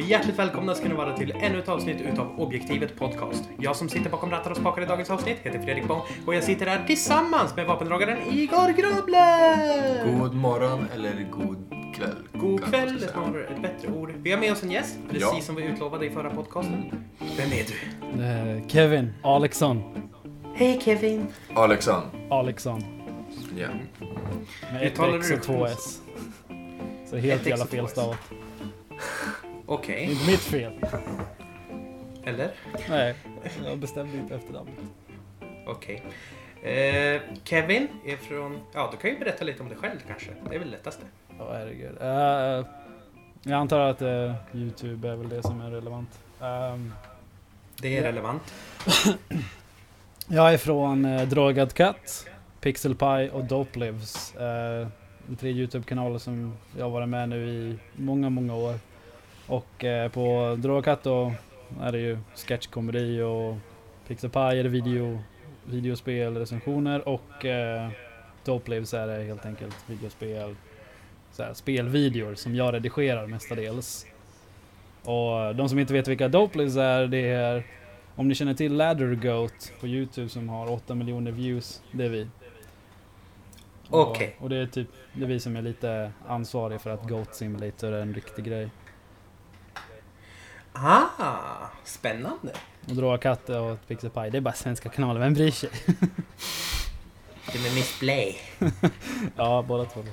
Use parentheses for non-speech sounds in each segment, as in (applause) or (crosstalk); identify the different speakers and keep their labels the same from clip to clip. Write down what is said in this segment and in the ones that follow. Speaker 1: hjärtligt välkomna ska ni vara till ännu ett avsnitt utav Objektivet Podcast. Jag som sitter bakom rattar och spakar i dagens avsnitt heter Fredrik Bong och jag sitter här tillsammans med vapendragaren Igor Grubler!
Speaker 2: God morgon eller god kväll.
Speaker 1: God
Speaker 2: kanske
Speaker 1: kväll
Speaker 2: jag ska säga.
Speaker 1: snarare, ett bättre ord. Vi har med oss en gäst, precis
Speaker 2: Ja.
Speaker 1: som vi utlovade i förra podcasten. Vem är du?
Speaker 3: Eh, Kevin Alexson.
Speaker 1: Hej Kevin!
Speaker 2: Alexand.
Speaker 3: Alexson.
Speaker 2: Ja.
Speaker 3: Med ett
Speaker 1: Uttalar
Speaker 3: X
Speaker 1: du
Speaker 3: och
Speaker 1: det
Speaker 3: två
Speaker 1: korrekt?
Speaker 3: S. Så
Speaker 1: Ett
Speaker 3: helt
Speaker 1: X
Speaker 3: jävla
Speaker 1: och två S.
Speaker 3: felstavat.
Speaker 1: Okej,
Speaker 3: Inte mitt fel.
Speaker 1: eller?
Speaker 3: Nej, jag bestämde inte efternamnet.
Speaker 1: Okej. Eh, Kevin är från... Ja, du kan ju berätta lite om dig själv kanske. Det är väl lättaste.
Speaker 3: Ja, herregud. Eh, jag antar att eh, Youtube är väl det som är relevant. Ehm,
Speaker 1: Det är
Speaker 3: Ja.
Speaker 1: relevant.
Speaker 3: jag är från eh, Drogad Katt, Pixel Pie och Dope Lives. Eh, tre Youtube-kanaler som jag har varit med nu i många, många år. Och eh, på Drogad Katt då är det ju sketchkomedi och Pixel Pie är det video, videospel, recensioner och eh, Dope Lives är det helt enkelt videospel, så här, spelvideor som jag redigerar mestadels. Och de som inte vet vilka Dope Lives är, det är om ni känner till Ladder Goat på Youtube som har 8 miljoner views, det är vi. Och-
Speaker 1: Okej.
Speaker 3: Och det är typ det är vi som är lite ansvariga för att Goat Simulator är en riktig grej.
Speaker 1: Ah, spännande!
Speaker 3: Och Dråa Katt och ett Pixel Pie, det är bara svenska kanaler, vem bryr (laughs) sig?
Speaker 1: De är Miss Play.
Speaker 3: ja, båda två.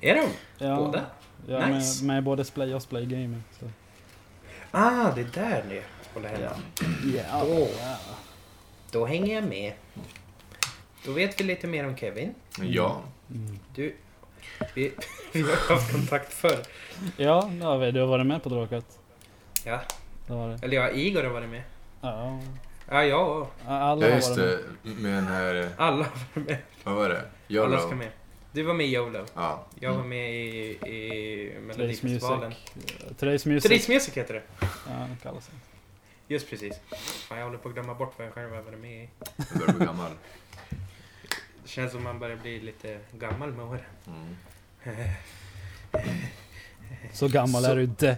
Speaker 1: Är de?
Speaker 3: Ja,
Speaker 1: Båda?
Speaker 3: Ja,
Speaker 1: Nice.
Speaker 3: med, med både Splay och Splay Gaming. Så.
Speaker 1: Ah, det är där ni håller hemma.
Speaker 3: Ja.
Speaker 1: Åh. Då hänger jag med. Då vet vi lite mer om Kevin.
Speaker 2: Ja.
Speaker 1: Du, vi, (laughs) vi har haft kontakt förr.
Speaker 3: Ja, det har vi. Du har varit med på Dråkat.
Speaker 1: Ja,
Speaker 3: Det har du.
Speaker 1: eller ja, Igor har varit med.
Speaker 3: Ja,
Speaker 1: Ja, jag och
Speaker 3: alla
Speaker 2: ja,
Speaker 3: har
Speaker 2: just
Speaker 3: varit med.
Speaker 2: det. Med den här...
Speaker 1: alla har varit med.
Speaker 2: Vad var det?
Speaker 1: Alla
Speaker 2: YOLO?
Speaker 1: ska med. Du var med i YOLO.
Speaker 2: Ja.
Speaker 1: Jag var med i, i
Speaker 3: Today's
Speaker 1: Melodifestivalen.
Speaker 3: Mm. Music. Today's Music.
Speaker 1: Therese Music heter det.
Speaker 3: Ja, det kallas det.
Speaker 1: Just precis. Fan, jag håller på att glömma bort vad jag själv har varit med i.
Speaker 2: Jag börjar bli gammal.
Speaker 1: Det känns som man börjar bli lite gammal med åren.
Speaker 2: Mm.
Speaker 3: Så gammal
Speaker 1: Så-
Speaker 3: är du inte.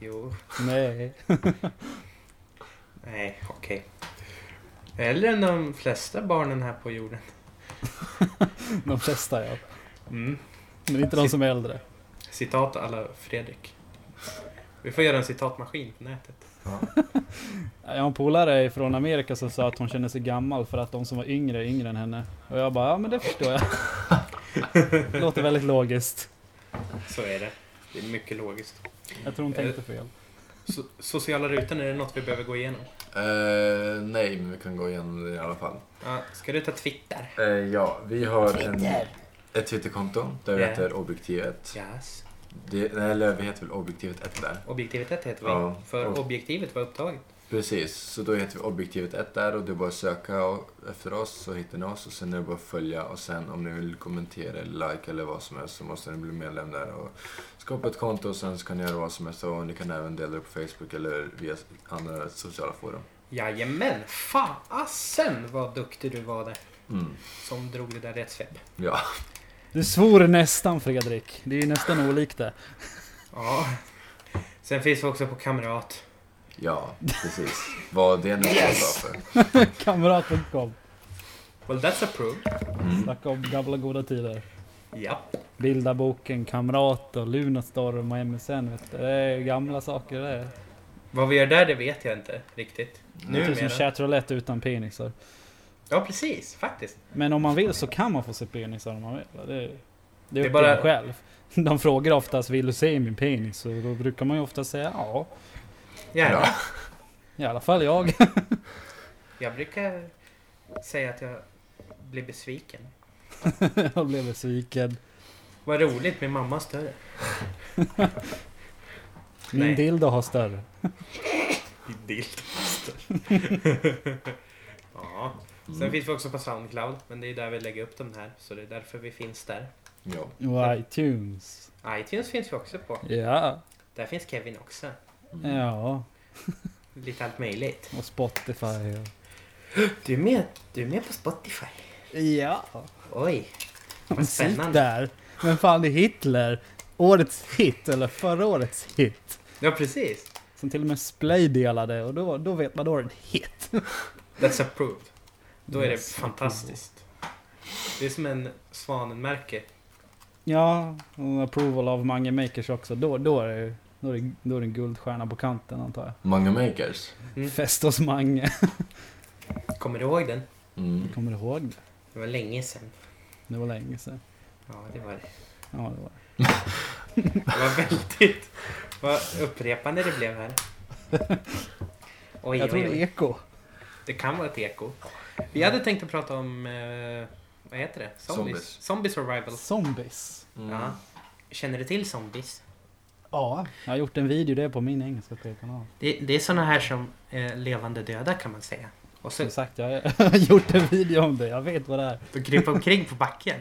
Speaker 1: Jo,
Speaker 3: Nej.
Speaker 1: nej, okej. Äldre än de flesta barnen här på jorden.
Speaker 3: De flesta ja.
Speaker 1: Mm.
Speaker 3: Men inte de som är äldre.
Speaker 1: Citat alla Fredrik. Vi får göra en citatmaskin på nätet.
Speaker 2: Ja.
Speaker 3: Jag har en polare från Amerika som sa att hon känner sig gammal för att de som var yngre är yngre än henne. Och jag bara, ja men det förstår jag. Låter väldigt logiskt.
Speaker 1: Så är det. Det är mycket logiskt.
Speaker 3: Jag tror hon tänkte fel.
Speaker 1: So sociala rutan, är det något vi behöver gå igenom?
Speaker 2: Eh, nej, men vi kan gå igenom det i alla fall.
Speaker 1: Ja, ska du ta Twitter?
Speaker 2: Eh, ja, vi har en, ett Twitterkonto där vi
Speaker 1: Ja.
Speaker 2: heter Objektivet.
Speaker 1: Yes.
Speaker 2: Det, nej, eller vi heter väl Objektivet 1 där.
Speaker 1: Objektivet 1 heter vi.
Speaker 2: Ja.
Speaker 1: För
Speaker 2: Och-
Speaker 1: objektivet var upptaget.
Speaker 2: Precis, så då heter vi Objektivet 1 där och det är bara att söka och- efter oss så hittar ni oss och sen är det bara att följa och sen om ni vill kommentera eller like eller vad som helst så måste ni bli medlem där och skapa ett konto och sen så kan ni göra vad som helst och ni kan även dela det på Facebook eller via andra sociala forum.
Speaker 1: Jajamän! Fasen vad duktig du var där.
Speaker 2: Mm.
Speaker 1: Som drog det där rättsvep.
Speaker 2: Ja,
Speaker 3: Du svor nästan Fredrik. Det är ju nästan olikt det.
Speaker 1: Ja. Sen finns vi också på Kamrat.
Speaker 2: ja, precis. Vad det nu
Speaker 1: Yes!
Speaker 2: står för.
Speaker 3: Kamrat.com.
Speaker 1: Well, that's approved.
Speaker 2: Mm.
Speaker 3: Snacka om gamla goda tider.
Speaker 1: Ja.
Speaker 3: Bilda boken Kamrat och Lunarstorm och MSN. Vet du. Det är gamla saker det. är.
Speaker 1: Vad vi gör där, det vet jag inte riktigt.
Speaker 3: Det är typ
Speaker 1: Numera.
Speaker 3: som chatroulette utan penisar.
Speaker 1: Ja, precis. Faktiskt.
Speaker 3: Men om man vill så kan man få se penisar om man vill. Det, det
Speaker 1: är
Speaker 3: är upp
Speaker 1: bara-
Speaker 3: till en själv. (laughs) De frågar oftast vill du se min penis? Och då brukar man ju ofta säga ja.
Speaker 1: Gärna.
Speaker 2: Ja.
Speaker 3: I alla fall jag. (laughs)
Speaker 1: Jag brukar säga att jag blir besviken.
Speaker 3: jag blev besviken.
Speaker 1: Vad roligt, min mamma har större.
Speaker 3: Min
Speaker 1: Nej.
Speaker 3: dildo har större.
Speaker 1: (laughs) ja. Sen
Speaker 2: Mm.
Speaker 1: finns vi också på Soundcloud, men det är där vi lägger upp den här. Så det är därför vi finns där.
Speaker 2: Ja.
Speaker 3: Och iTunes.
Speaker 1: iTunes finns vi också på.
Speaker 3: Ja.
Speaker 1: Där finns Kevin också.
Speaker 2: Mm.
Speaker 3: Ja.
Speaker 1: Lite allt möjligt.
Speaker 3: Och Spotify.
Speaker 1: Du är med, du är med på Spotify.
Speaker 3: Ja.
Speaker 1: Oj. Vad
Speaker 3: Musik
Speaker 1: spännande.
Speaker 3: där. Men fan det är Hitler. årets hit, eller förra årets hit.
Speaker 1: Ja, precis.
Speaker 3: Som till och med Splay delade och då, då vet man då är det en hit.
Speaker 1: That's approved. Då är det
Speaker 3: Yes.
Speaker 1: fantastiskt. Det är som en svanenmärke.
Speaker 3: Ja, och approval av Mange Makers också. Då, då, är det, då, är det, då är det en guldstjärna på kanten antar jag.
Speaker 2: Mange Makers.
Speaker 1: Mm.
Speaker 3: Fest hos Mange.
Speaker 1: Kommer du ihåg den?
Speaker 2: Mm.
Speaker 3: Kommer du ihåg det?
Speaker 1: Det var länge sedan.
Speaker 3: Det var länge sedan.
Speaker 1: Ja, det var det.
Speaker 3: Ja, det var det.
Speaker 1: Det var väldigt... Vad upprepande det blev här. Oj,
Speaker 3: Jag tror
Speaker 1: oj,
Speaker 3: det är
Speaker 1: oj.
Speaker 3: eko.
Speaker 1: Det kan vara ett eko. Vi hade tänkt att prata om... Eh, vad heter det? Zombies.
Speaker 2: Zombies.
Speaker 1: Zombie survival.
Speaker 3: Zombies.
Speaker 2: Mm.
Speaker 1: Ja. Känner du till zombies?
Speaker 3: Ja, jag har gjort en video det på min engelska kanal.
Speaker 1: Det, det är såna här som eh, levande döda kan man säga. Och så
Speaker 3: Som sagt, jag har (laughs) gjort en video om det. Jag vet vad det är.
Speaker 1: de kryper omkring på backen.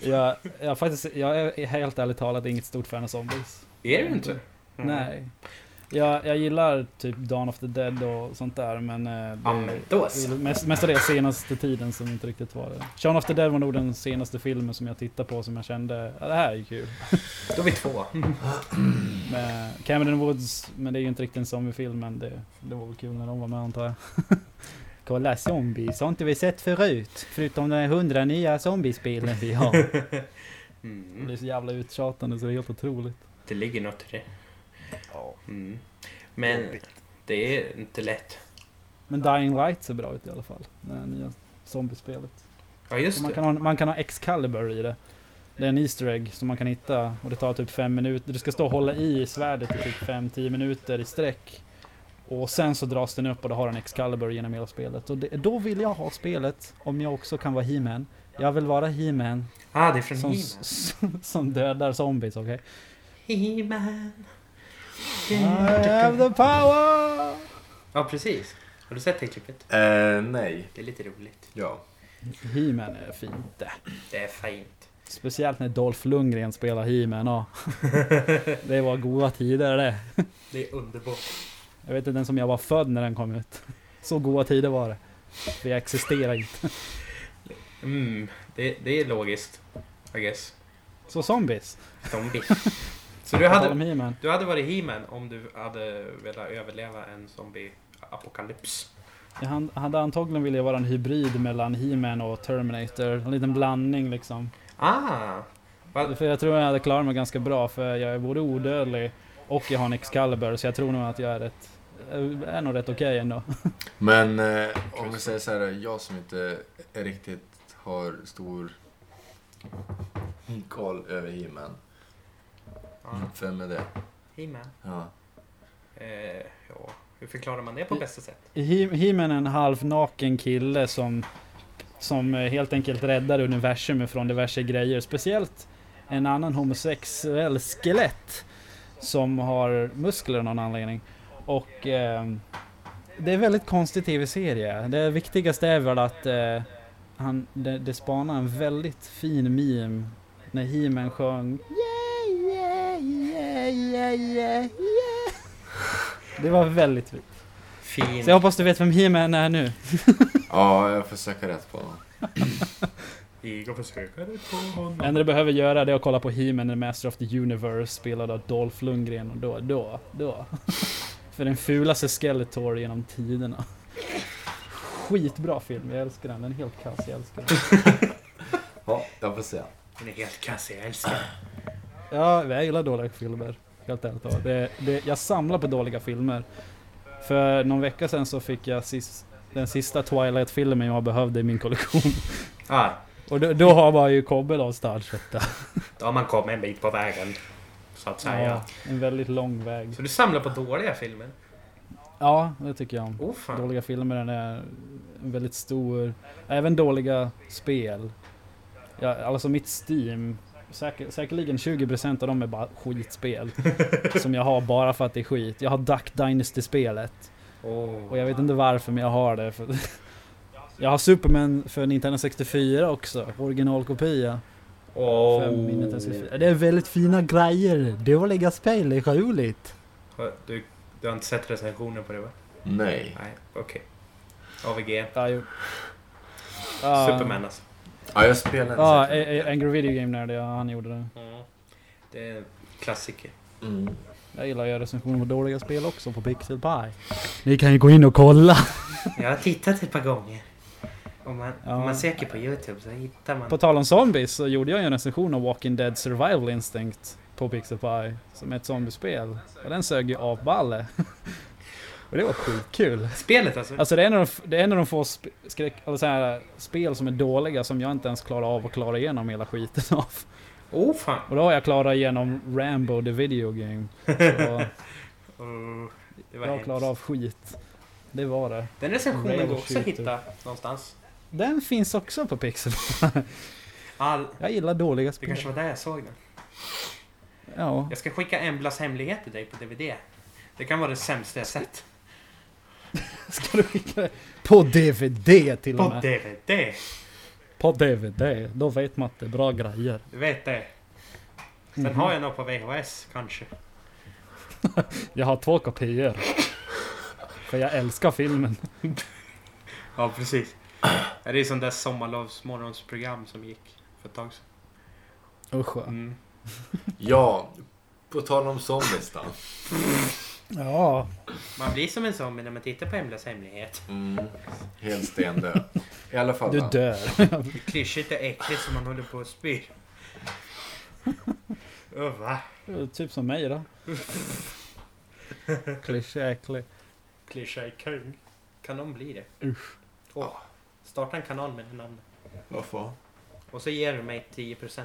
Speaker 3: Jag, jag, har faktiskt, jag är helt ärligt talat inget stort fan av zombies.
Speaker 1: Är du inte? Mm.
Speaker 3: Nej. Jag, jag gillar typ Dawn of the Dead och sånt där men... eh,
Speaker 1: Ja,
Speaker 3: det-
Speaker 1: men då
Speaker 3: det är
Speaker 1: så.
Speaker 3: väl Mest, mest av det senaste tiden som inte riktigt var det. Shaun of the Dead var nog den senaste filmen som jag tittade på som jag kände, ja det här är ju kul.
Speaker 1: Då är vi två. (laughs)
Speaker 3: Med Cameron Woods, men det är ju inte riktigt en zombiefilm men det, det var väl kul när de var med antar jag. (laughs) Kolla zombies, har inte vi sett förut? Förutom de hundra nya zombiespelen vi har. Det
Speaker 1: Mm.
Speaker 3: blir så jävla uttjatande så det är helt otroligt.
Speaker 1: Det ligger något i det.
Speaker 4: Ja.
Speaker 1: Mm. Men
Speaker 4: Jobbigt.
Speaker 1: det är inte lätt.
Speaker 3: Men Dying Light ser bra ut i alla fall. Det här nya zombiespelet.
Speaker 1: Ja,
Speaker 3: Och
Speaker 1: just
Speaker 3: Man
Speaker 1: det.
Speaker 3: kan, ha, man kan ha Excalibur i det. Det är en Easter egg som man kan hitta och det tar typ fem minuter. Du ska stå och hålla i svärdet i typ 5-10 minuter i sträck. Och sen så dras den upp och då har den Excalibur genom hela spelet. Och det, då vill jag ha spelet om jag också kan vara He-Man. Jag vill vara He-Man
Speaker 1: Ah, det är från
Speaker 3: som,
Speaker 1: He-Man.
Speaker 3: som dödar zombies, okej?
Speaker 1: He-Man.
Speaker 3: I have the power!
Speaker 1: Ja, precis. Har du sett det klippet?
Speaker 2: Eh, nej.
Speaker 1: Det är lite roligt.
Speaker 2: Ja.
Speaker 3: He-Man är fint det.
Speaker 1: Det är fint.
Speaker 3: Speciellt när Dolph Lundgren spelar
Speaker 1: (laughs)
Speaker 3: He-Man. ja. Det var goda tider det.
Speaker 1: Det är underbart.
Speaker 3: Jag vet inte den som jag var född när den kom ut. (laughs) Så goda tider var det. Vi existerar inte.
Speaker 1: Mm, det, det är logiskt. I guess.
Speaker 3: Så zombies.
Speaker 1: Zombie. Så du
Speaker 3: På tal
Speaker 1: hade,
Speaker 3: om He-Man.
Speaker 1: du hade varit He-Man om du hade velat överleva en zombie-apokalyps.
Speaker 3: Jag han- hade antagligen velat vara en hybrid mellan He-Man och Terminator. En liten blandning liksom.
Speaker 1: Ah! Vad-
Speaker 3: För jag tror jag hade klarat mig ganska bra för jag är både odödlig och jag har en Excalibur så jag tror nog att jag är rätt är nog rätt okej ändå.
Speaker 2: Men eh, om vi säger så här, jag som inte är riktigt har stor koll över He-Man.
Speaker 1: Ja,
Speaker 2: Vem är det?
Speaker 1: He-Man.
Speaker 2: Ja.
Speaker 1: Eh, ja. Hur förklarar man det på bästa sätt?
Speaker 3: He- He-Man är en halvnaken kille som, som eh, helt enkelt räddar universum från diverse grejer. Speciellt en annan homosexuell skelett som har muskler av någon anledning. Och eh, det är en väldigt konstig tv-serie. Det viktigaste är väl att eh, han, det, det spanar en väldigt fin meme när He-Man sjöng yeah, yeah, yeah, yeah, yeah, yeah. Det var väldigt fint.
Speaker 1: Fin.
Speaker 3: Så jag hoppas du vet vem He-Man är nu.
Speaker 2: ja, jag får söka rätt på honom.
Speaker 1: Egon försöker det på honom.
Speaker 3: Det enda du behöver göra det är att kolla på He-Man, The Master of the Universe, spelad av Dolph Lundgren. Och då, då, då. (laughs) För den fulaste Skeletor genom tiderna. Skitbra film, jag älskar den. Den är helt kass, jag älskar den.
Speaker 2: Ja, jag får se.
Speaker 1: Hon är helt kass, jag älskar henne.
Speaker 3: Ja, jag gillar dåliga filmer. Helt ärligt talat. det, det, Jag samlar på dåliga filmer. För någon vecka sedan så fick jag sist, den sista Twilight-filmen jag behövde i min kollektion.
Speaker 1: Ah,
Speaker 3: Och då, då har man ju kommit någonstans. vet du.
Speaker 1: då har man kommit en bit på vägen. Så att säga.
Speaker 3: Ja, en väldigt lång väg.
Speaker 1: Så du samlar på dåliga filmer?
Speaker 3: Ja, det tycker jag om.
Speaker 1: Oh fan.
Speaker 3: Dåliga filmer den är en väldigt stor. Även dåliga spel. Ja, alltså mitt Steam. Säker, säkerligen 20% av dem är bara
Speaker 1: (laughs)
Speaker 3: skitspel. som jag har bara för att det är skit. Jag har Duck Dynasty-spelet. Och
Speaker 1: Oh.
Speaker 3: jag vet inte varför men jag har det. För (laughs) jag har Superman för Nintendo 64 också. Originalkopia.
Speaker 1: Oh.
Speaker 3: För min Nintendo 64. Det är väldigt fina grejer. Dåliga spel är roligt.
Speaker 1: Har- Du, du har inte sett recensionen på det va?
Speaker 2: Nej.
Speaker 1: Nej, okej. AVG.
Speaker 3: Ja, jo. Ah. Ja.
Speaker 1: Superman alltså.
Speaker 2: Ja, jag spelar inte
Speaker 3: Ja, e-
Speaker 2: säkert.
Speaker 3: A- A- Angry Video Game Nerd, ja han gjorde det.
Speaker 1: Det, Klassiker.
Speaker 3: eh.
Speaker 2: Mm.
Speaker 3: Jag gillar att göra recensioner på dåliga spel också på Pixel Pie. Ni kan ju gå in och kolla!
Speaker 1: Jag har tittat ett par gånger. Om man,
Speaker 3: Ja.
Speaker 1: om man söker på Youtube så hittar man.
Speaker 3: På tal om zombies så gjorde jag ju en recension av Walking Dead Survival Instinct på Pixel Pie som är ett zombiespel. Och den sög ju avballe. (laughs) Och det var skitkul.
Speaker 1: Spelet alltså?
Speaker 3: Alltså det är en av de, det är en av de få sp- skräck, eller så här, spel som är dåliga som jag inte ens klarar av att klara igenom hela skiten (laughs) av.
Speaker 1: Oh fan!
Speaker 3: Och då har jag klarat igenom Rambo the Video Game. Så
Speaker 1: (laughs) Oh, det var
Speaker 3: jag
Speaker 1: hemskt.
Speaker 3: klarade av skit. Det var det.
Speaker 1: Den recensionen
Speaker 3: Rainbow
Speaker 1: går också att
Speaker 3: Shooter.
Speaker 1: hitta någonstans.
Speaker 3: Den finns också på Pixel.
Speaker 1: All,
Speaker 3: Jag gillar dåliga
Speaker 1: det
Speaker 3: spel.
Speaker 1: kanske var där jag såg den.
Speaker 3: Ja.
Speaker 1: Jag ska skicka Emblas hemlighet till dig på DVD. Det kan vara det sämsta jag sett.
Speaker 3: (laughs) Ska du skicka det? På DVD till
Speaker 1: På
Speaker 3: och med.
Speaker 1: DVD!
Speaker 3: På DVD. Då vet man att det är bra grejer.
Speaker 1: Du vet det. Sen
Speaker 3: Mhm.
Speaker 1: har jag nog på VHS kanske.
Speaker 3: Jag har två kopior. För jag älskar filmen.
Speaker 1: Ja, precis. (clears throat) Det är som det där sommarlovsmorgonsprogram som gick för ett tag sedan.
Speaker 3: Usch ja.
Speaker 1: Mm.
Speaker 2: Ja, på tal om zombies då.
Speaker 3: Ja.
Speaker 1: Man blir som en zombie när man tittar på Emblas hemlighet.
Speaker 2: Mm. Helt stendöd. I alla fall
Speaker 3: Du
Speaker 2: va?
Speaker 3: dör.
Speaker 1: Det är klyschigt och äckligt som man håller på att (laughs) spy. Öh, va?
Speaker 3: (laughs) Typ som mig (laughs) då. Klyschäcklig.
Speaker 1: Klyscha är kung. Kan de bli det? Usch. Åh, starta en kanal med det namnet.
Speaker 2: Varför?
Speaker 1: Och så ger du mig 10%.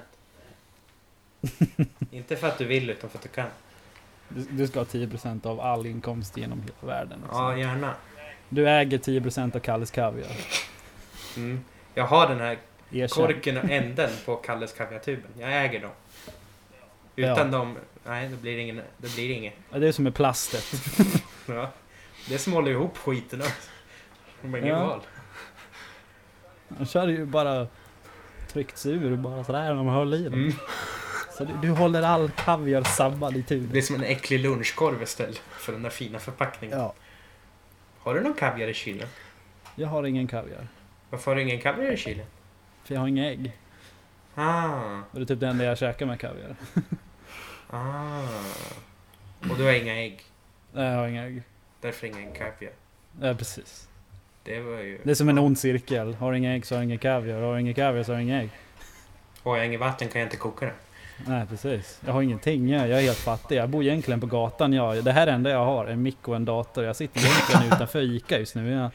Speaker 1: Inte för att du vill utan för att du kan.
Speaker 3: Du, du ska ha 10% av all inkomst genom hela världen. också.
Speaker 1: Ja, gärna.
Speaker 3: Du äger 10% av Kalles Kaviar.
Speaker 1: Mm. Jag har den här
Speaker 3: Erkänn.
Speaker 1: korken och änden på Kalles kaviartuben. Jag äger dem.
Speaker 3: Ja.
Speaker 1: Utan dem, nej det blir ingen, det blir inget.
Speaker 3: Ja, Det är som med plastet.
Speaker 1: Ja. Det är som håller ihop skiten också. De har ingen
Speaker 3: Ja.
Speaker 1: val.
Speaker 3: De kör ju bara tryckts ur bara sådär när de höll i den.
Speaker 1: Mm.
Speaker 3: Så du, du håller all kaviar sabbad i
Speaker 1: Det
Speaker 3: tuben.
Speaker 1: blir som en äcklig lunchkorv istället för den där fina förpackningen.
Speaker 3: Ja.
Speaker 1: Har du någon kaviar i kylen?
Speaker 3: Jag har ingen kaviar.
Speaker 1: Varför har du ingen kaviar i kylen?
Speaker 3: För jag har inga ägg.
Speaker 1: Ah,
Speaker 3: Och det är typ det enda jag käkar med kaviar.
Speaker 1: ah. Och du har inga ägg.
Speaker 3: Nej, jag har inga ägg.
Speaker 1: Därför ingen kaviar.
Speaker 3: Ja, precis.
Speaker 1: Det var ju...
Speaker 3: Det är som en ond cirkel. Har inga ägg så har jag ingen kaviar. Har jag ingen kaviar så har jag inga ägg.
Speaker 1: Har jag inget vatten kan jag inte koka det.
Speaker 3: Nej, precis. Jag har ingenting. Jag jag är helt fattig. Jag bor egentligen på gatan. Jag, det här är det enda jag har. En mick och en dator. Jag sitter egentligen utanför Ica just nu. Jag,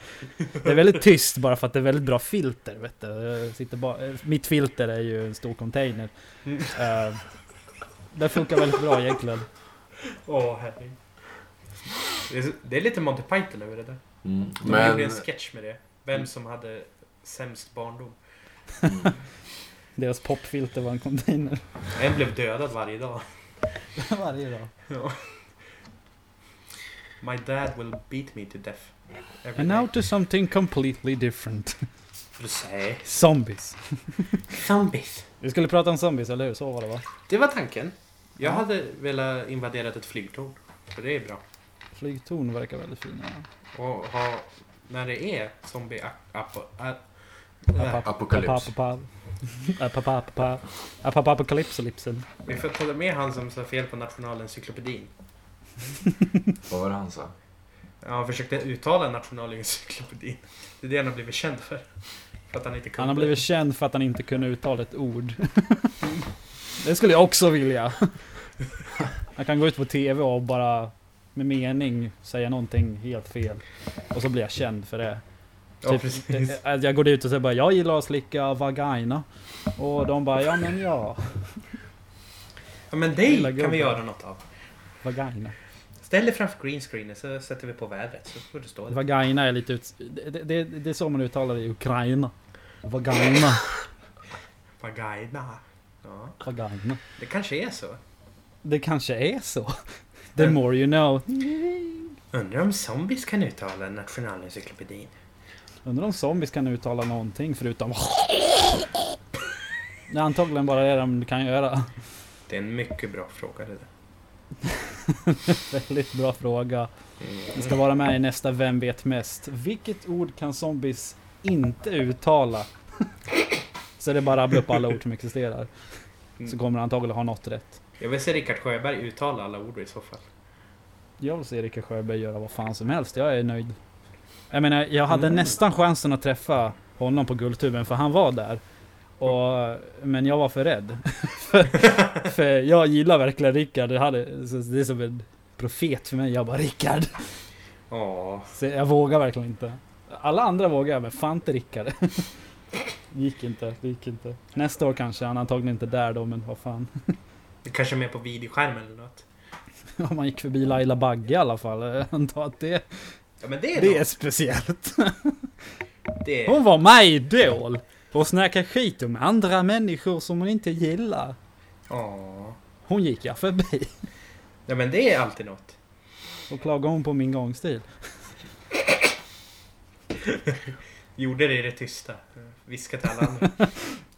Speaker 3: det är väldigt tyst bara för att det är väldigt bra filter. Vet du. Jag sitter bara, eh, mitt filter är ju en stor container.
Speaker 1: Mm.
Speaker 3: Eh, det funkar väldigt bra egentligen.
Speaker 1: Åh, herregud. Det är, så- det är lite Monty Python över det där.
Speaker 2: Mm.
Speaker 1: De gjorde
Speaker 2: Men
Speaker 1: en
Speaker 2: (laughs)
Speaker 1: sketch med det. Vem som hade sämst barndom.
Speaker 2: Mm.
Speaker 3: Deras popfilter var en container.
Speaker 1: En blev dödad varje dag.
Speaker 3: (laughs) Varje dag.
Speaker 1: My dad will beat me to death. Every
Speaker 3: And now
Speaker 1: day.
Speaker 3: to something completely different.
Speaker 1: Får du säga.
Speaker 3: Zombies.
Speaker 1: Zombies.
Speaker 3: Vi skulle prata om zombies, eller hur? Så var det va?
Speaker 1: Det var tanken. Jag
Speaker 3: Ja.
Speaker 1: hade velat invadera ett flygtorn. För det är bra.
Speaker 3: Flygtorn verkar väldigt fina.
Speaker 1: Och ha... När det är zombie... Apo, a,
Speaker 3: App, app,
Speaker 2: Apokalyps.
Speaker 3: app, app, app. App, app, app, app. App, app, apokalypsolipsen.
Speaker 1: vi får ta med han som sa fel på nationalencyklopedin.
Speaker 2: vad var det han sa?
Speaker 1: Han försökte uttala nationalencyklopedin. Det är det han har blivit känd för. För att han inte kunde.
Speaker 3: Han har blivit känd för att han inte kunde uttala ett (laughs) ord. Det skulle jag också vilja. Han kan gå ut på TV och bara med mening säga någonting helt fel. Och så blir jag känd för det.
Speaker 1: Ja, precis.
Speaker 3: det- att Typ, eh, alltså jag går dit och säger bara jag gillar att slicka vagina. Och de bara ja men ja,
Speaker 1: Ja, men
Speaker 3: Lilla
Speaker 1: dig kan
Speaker 3: gubben.
Speaker 1: vi göra något av.
Speaker 3: vagina.
Speaker 1: Ställ dig framför greenscreenen så sätter vi på vädret. Så får du stå där.
Speaker 3: Vagina är lite ut... Det, det, det är så man uttalar det i Ukraina. Vagina.
Speaker 1: Pagaina. Ja,
Speaker 3: Vagina.
Speaker 1: det kanske är så.
Speaker 3: Det kanske är så. The more you know.
Speaker 1: Undrar om zombies kan uttala nationalencyklopedin.
Speaker 3: Undrar om zombies kan uttala någonting förutom... (laughs) Det är antagligen bara det de kan göra.
Speaker 1: Det är en mycket bra fråga det där.
Speaker 3: Väldigt bra fråga. Det ska vara med i nästa Vem vet mest? Vilket ord kan zombies inte uttala? Så det är bara att rabbla upp alla ord som existerar. Så kommer han antagligen ha något rätt.
Speaker 1: Mm. Jag vill se Rickard Sjöberg uttala alla ord i så fall.
Speaker 3: Jag vill se Rickard Sjöberg göra vad fan som helst, jag är nöjd. Jag menar, jag hade nästan chansen att träffa honom på Guldtuben för han var där. Och, men jag var för rädd. (laughs) för, för jag gillar verkligen Rickard, det, hade, så det är som en profet för mig. Jag bara Rickard!
Speaker 1: Ja,
Speaker 3: Så jag vågar verkligen inte. Alla andra vågar jag, men fan inte (laughs) Rickard. gick inte, det gick inte. Nästa år kanske, han är antagligen inte där då, men vad fan. (laughs)
Speaker 1: det kanske är mer på videoskärmen eller något.
Speaker 3: Om man gick förbi Laila Bagge i alla fall, jag antar att det,
Speaker 1: Ja men det är
Speaker 3: det är
Speaker 1: det.
Speaker 3: speciellt.
Speaker 1: det är,
Speaker 3: Hon var my idol! Och snackade skit om andra människor som hon inte gillar.
Speaker 1: ja.
Speaker 3: Hon gick jag förbi.
Speaker 1: ja men det är alltid något.
Speaker 3: Och klagade hon på min gångstil.
Speaker 1: Gjorde det i det tysta. Viska till alla andra.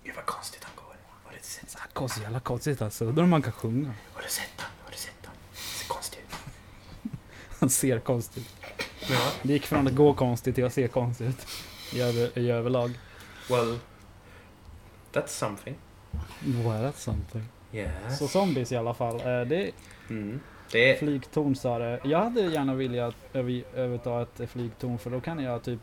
Speaker 1: Gud vad konstigt han går. Har du sett?
Speaker 3: Så här konstigt, jävla konstigt alltså. Undrar om man kan sjunga.
Speaker 1: Har du sett han? Har du sett han? Ser konstig ut.
Speaker 3: Han ser konstigt ut.
Speaker 1: Ja.
Speaker 3: Det gick från att gå konstigt till att se konstigt ut. I, över, I överlag.
Speaker 1: Well. That's something.
Speaker 3: Var det something?
Speaker 1: Yes.
Speaker 3: Så zombies i alla fall. Eh, Det
Speaker 1: Mm. Det är...
Speaker 3: flygtorn sa det. Jag hade gärna velat över- överta ett flygtorn för då kan jag typ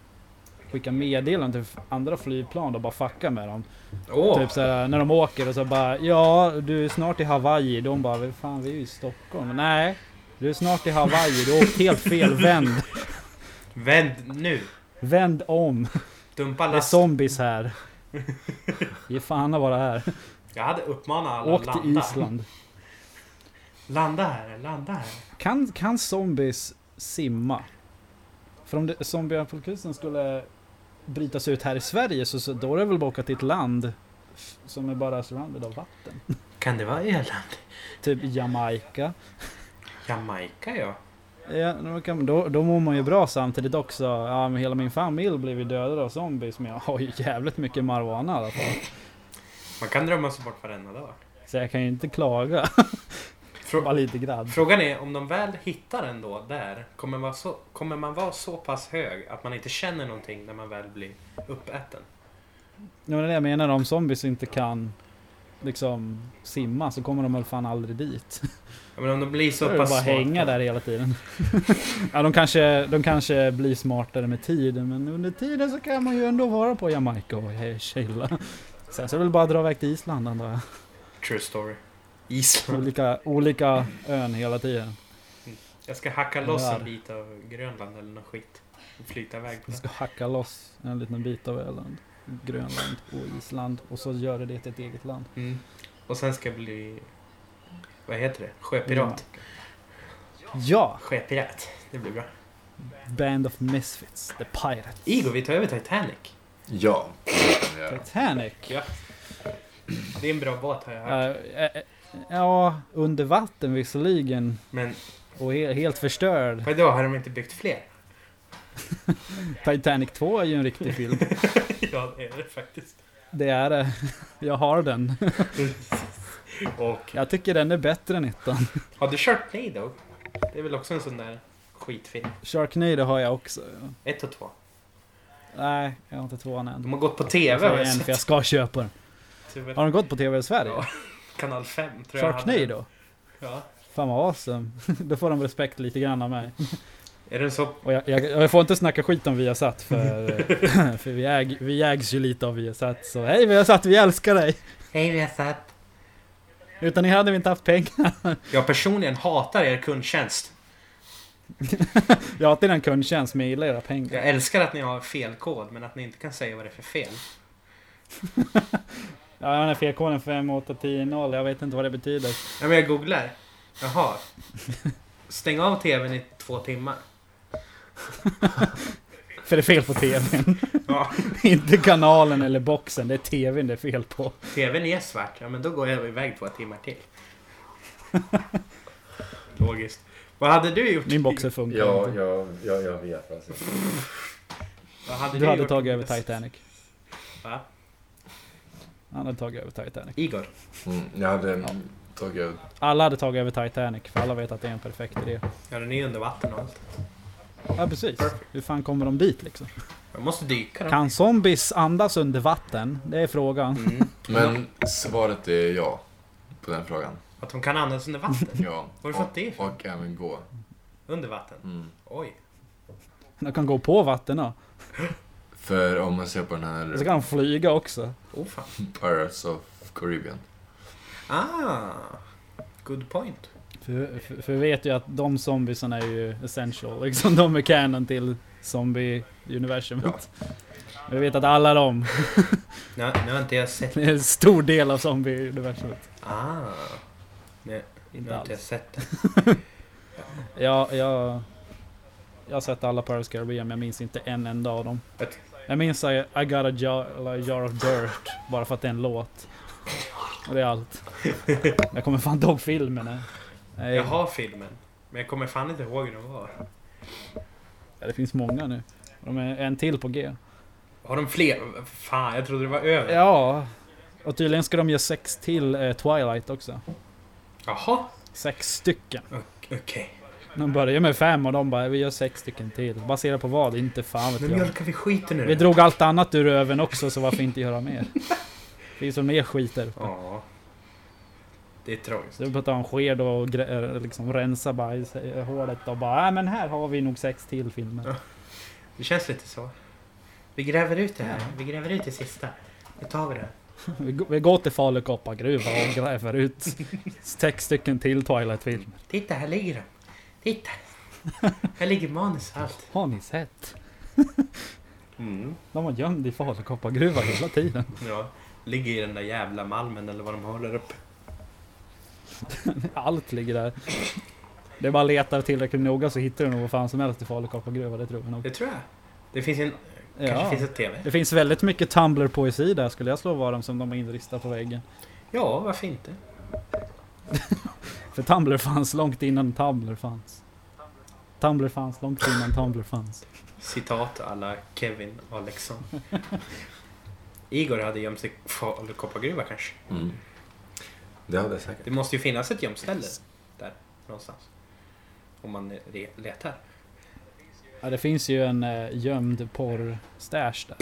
Speaker 3: skicka meddelanden till andra flygplan och bara fucka med dem.
Speaker 1: Åh!
Speaker 3: Typ såhär när de åker och så bara ja du är snart i Hawaii. De bara "Vad fan vi är ju i Stockholm. Nej du är snart i Hawaii. Du har åkt helt fel. Vänd.
Speaker 1: Vänd nu!
Speaker 3: Vänd om.
Speaker 1: Dumpa
Speaker 3: Det är
Speaker 1: last.
Speaker 3: zombies
Speaker 1: (laughs)
Speaker 3: här. Ge fan att vara här.
Speaker 1: Jag hade uppmanat alla
Speaker 3: Åk
Speaker 1: att landa.
Speaker 3: till Island.
Speaker 1: Landa här, landa här.
Speaker 3: Kan, kan zombies simma? För om det- zombieapokalypsen skulle brytas ut här i Sverige så, så då är det väl bara att åka till ett land f- som är bara surrounded av vatten.
Speaker 1: Kan det vara Irland?
Speaker 3: Typ Jamaica.
Speaker 1: Jamaica ja.
Speaker 3: Ja, då, kan, då, då mår man ju bra samtidigt också. Ja, men hela min familj blev ju dödad av zombies men jag har ju jävligt mycket marijuana i alla fall.
Speaker 1: Man kan drömma sig bort varenda dag.
Speaker 3: Så jag kan ju inte klaga. (laughs) Bara
Speaker 1: Frå-
Speaker 3: lite grann.
Speaker 1: Frågan är om de väl hittar en då där, kommer man, så, kommer man vara så pass hög att man inte känner någonting när man väl blir uppäten?
Speaker 3: Ja, men det är det jag menar om zombies inte kan liksom simma så kommer de väl fan aldrig dit.
Speaker 1: Jag menar om de blir
Speaker 3: Så
Speaker 1: så
Speaker 3: det är
Speaker 1: pass
Speaker 3: bara
Speaker 1: smarta-
Speaker 3: hänga där hela tiden. (laughs) ja, de, kanske, de kanske blir smartare med tiden, men under tiden så kan man ju ändå vara på Jamaica och he- chilla. Sen så är det väl bara att dra iväg till Island antar jag.
Speaker 1: True story. Island.
Speaker 3: Olika, olika ön hela tiden.
Speaker 1: Jag ska hacka loss
Speaker 3: Där.
Speaker 1: en bit av Grönland eller något skit. Och flyta iväg på
Speaker 3: Vi
Speaker 1: det.
Speaker 3: ska hacka loss en liten bit av Öland, Grönland och Island och så gör det det till ett eget land.
Speaker 1: Mm. Och sen ska jag bli... Vad heter det? Sjöpirat.
Speaker 3: Ja!
Speaker 1: Sjöpirat. Det blir bra.
Speaker 3: Band of Misfits, The Pirates.
Speaker 1: Igor, vi tar över Titanic.
Speaker 2: Ja. ja.
Speaker 3: Titanic.
Speaker 1: Det är en bra båt har jag hört.
Speaker 3: Eh, eh, ja, under vatten visserligen
Speaker 1: Men
Speaker 3: och he- helt förstörd.
Speaker 1: vadå, har de inte byggt fler?
Speaker 3: (laughs) Titanic 2 är ju en riktig film.
Speaker 1: ja, det är det faktiskt.
Speaker 3: Det är det. (laughs) Jag har den.
Speaker 1: Och
Speaker 3: Jag tycker den är bättre än ettan.
Speaker 1: har du Sharknado? Det är väl också en sån där skitfilm.
Speaker 3: Sharknado har jag också.
Speaker 1: Ett och två.
Speaker 3: Nej, jag har inte tvåan än.
Speaker 1: De har gått på TV har
Speaker 3: Jag
Speaker 1: jag
Speaker 3: en, för jag
Speaker 1: sett.
Speaker 3: ska köpa den. Har
Speaker 1: Tyvärr.
Speaker 3: den gått på TV i Sverige?
Speaker 1: Ja. Kanal 5 tror jag hade den.
Speaker 3: Sharknado?
Speaker 1: Ja.
Speaker 3: Fan vad awesome. (laughs) Då får de respekt lite grann av mig.
Speaker 1: Är den så...
Speaker 3: Och jag, jag, jag får inte snacka skit om Viasat för, (laughs) för vi, äg, vi ägs ju lite av Viasat. Så hej Viasat, vi älskar dig!
Speaker 1: Hej vi har sett.
Speaker 3: Utan er hade vi inte haft pengar. (laughs)
Speaker 1: Jag personligen hatar er kundtjänst.
Speaker 3: Jag har till den kundtjänst men jag gillar era pengar.
Speaker 1: Jag älskar att ni har fel kod men att ni inte kan säga vad det är för fel.
Speaker 3: Ja, den här felkoden 5810, jag vet inte vad det betyder.
Speaker 1: Ja, men jag googlar. Jaha. Stäng av TVn i två timmar.
Speaker 3: För det är fel på TVn.
Speaker 1: Ja.
Speaker 3: (laughs) inte kanalen eller boxen, det är TVn det är fel på.
Speaker 1: TVn är svart. Ja, men då går jag iväg två timmar till. Logiskt. Vad hade du gjort?
Speaker 3: Min boxer funkar
Speaker 2: Ja,
Speaker 3: inte.
Speaker 2: ja, ja, jag vet alltså.
Speaker 1: Vad hade
Speaker 3: Du hade
Speaker 1: gjort?
Speaker 3: tagit över Titanic.
Speaker 1: Va?
Speaker 3: Han hade tagit över Titanic.
Speaker 1: Igor.
Speaker 2: Mm, jag hade
Speaker 3: Ja.
Speaker 2: tagit ut...
Speaker 3: Alla hade tagit över Titanic, för alla vet att det är en perfekt idé.
Speaker 1: Ja, den är ju under vatten och allt.
Speaker 3: Ja, precis. Hur fan kommer de dit liksom?
Speaker 1: Jag måste dyka då.
Speaker 3: Kan zombies andas under vatten? Det är frågan.
Speaker 1: Mm.
Speaker 2: Men svaret är ja. På den frågan.
Speaker 1: (laughs) Ja, Att de kan andas under vatten?
Speaker 2: Ja.
Speaker 1: Var har du fått det
Speaker 2: och, och även gå.
Speaker 1: Under vatten?
Speaker 2: Mm.
Speaker 1: Oj.
Speaker 3: De kan gå på vatten då.
Speaker 2: För om man ser på den
Speaker 3: Och
Speaker 1: Alltså,
Speaker 3: så
Speaker 2: här
Speaker 3: kan de flyga också.
Speaker 1: Oh fan.
Speaker 2: Pirates of Caribbean.
Speaker 1: Ah. Good point.
Speaker 3: För, för, för vi vet ju att de zombiesarna är ju essential. Liksom de är canon till zombie-universumet. Vi vet att alla de
Speaker 1: Nu, nu har inte jag sett...
Speaker 3: är en stor del av zombie-universumet.
Speaker 1: Ah. Nu
Speaker 3: Inte
Speaker 1: har inte jag
Speaker 3: alls.
Speaker 1: sett det.
Speaker 3: Jag, jag, jag har sett alla Pirates of the Caribbean men jag minns inte en enda av dem.
Speaker 1: Ett-
Speaker 3: Jag minns I, I got a jar, eller jar of dirt bara för att det är en låt. Och det är allt. Jag kommer fan inte ihåg filmen. nej. Nej.
Speaker 1: Jag har filmen. Men jag kommer fan inte ihåg hur den var.
Speaker 3: Ja, det finns många nu. De är en till på G.
Speaker 1: Har de fler? Fan, jag trodde det var över.
Speaker 3: Ja. Och tydligen ska de göra sex till eh, Twilight också.
Speaker 1: Jaha.
Speaker 3: Sex stycken.
Speaker 1: Okej.
Speaker 3: De börjar med fem och de bara vi gör sex stycken till. Baserat på vad? Inte fan vet
Speaker 1: Nu
Speaker 3: jag.
Speaker 1: mjölkar vi skiten nu.
Speaker 3: Vi drog allt annat ur öven också så varför inte göra mer? Finns det mer skit där uppe?
Speaker 1: Ja. Det är tragiskt.
Speaker 3: Så vi pratar om sked och gre- eh, liksom rensa bajs, eh, hålet och bara äh, men här har vi nog sex till filmer.
Speaker 1: Det känns lite så. Vi gräver ut det här. Vi gräver ut det sista. Nu tar vi det.
Speaker 3: Vi, g- vi går till Falu koppargruva och gräver ut sex stycken till Twilight-filmer.
Speaker 1: Titta, här ligger de. Titta. Här ligger manus och allt.
Speaker 3: Har ni sett? De var gömda i Falu koppargruva hela tiden.
Speaker 1: Ja. Ligger i den där jävla malmen eller vad de håller upp.
Speaker 3: Allt ligger där. Det är bara att leta tillräckligt noga så hittar du nog vad fan som helst i Falu koppargruva, det tror jag nog.
Speaker 1: Det tror jag. Det finns en...
Speaker 3: Ja.
Speaker 1: Kanske finns ett TV.
Speaker 3: Det finns väldigt mycket Tumblr-poesi där skulle jag slå vad om som de har inristat på väggen.
Speaker 1: Ja, varför inte?
Speaker 3: För Tumblr fanns långt innan Tumblr fanns. Tumblr fanns långt innan Tumblr fanns.
Speaker 1: Citat alla Kevin Alexson. (laughs) Igor hade gömt sig i Falukoppargruva kanske.
Speaker 2: Mm. Det hade jag säkert.
Speaker 1: Det måste ju finnas ett gömställe där någonstans. Om man re- letar.
Speaker 3: Ja, det finns ju en eh, gömd porrstash där.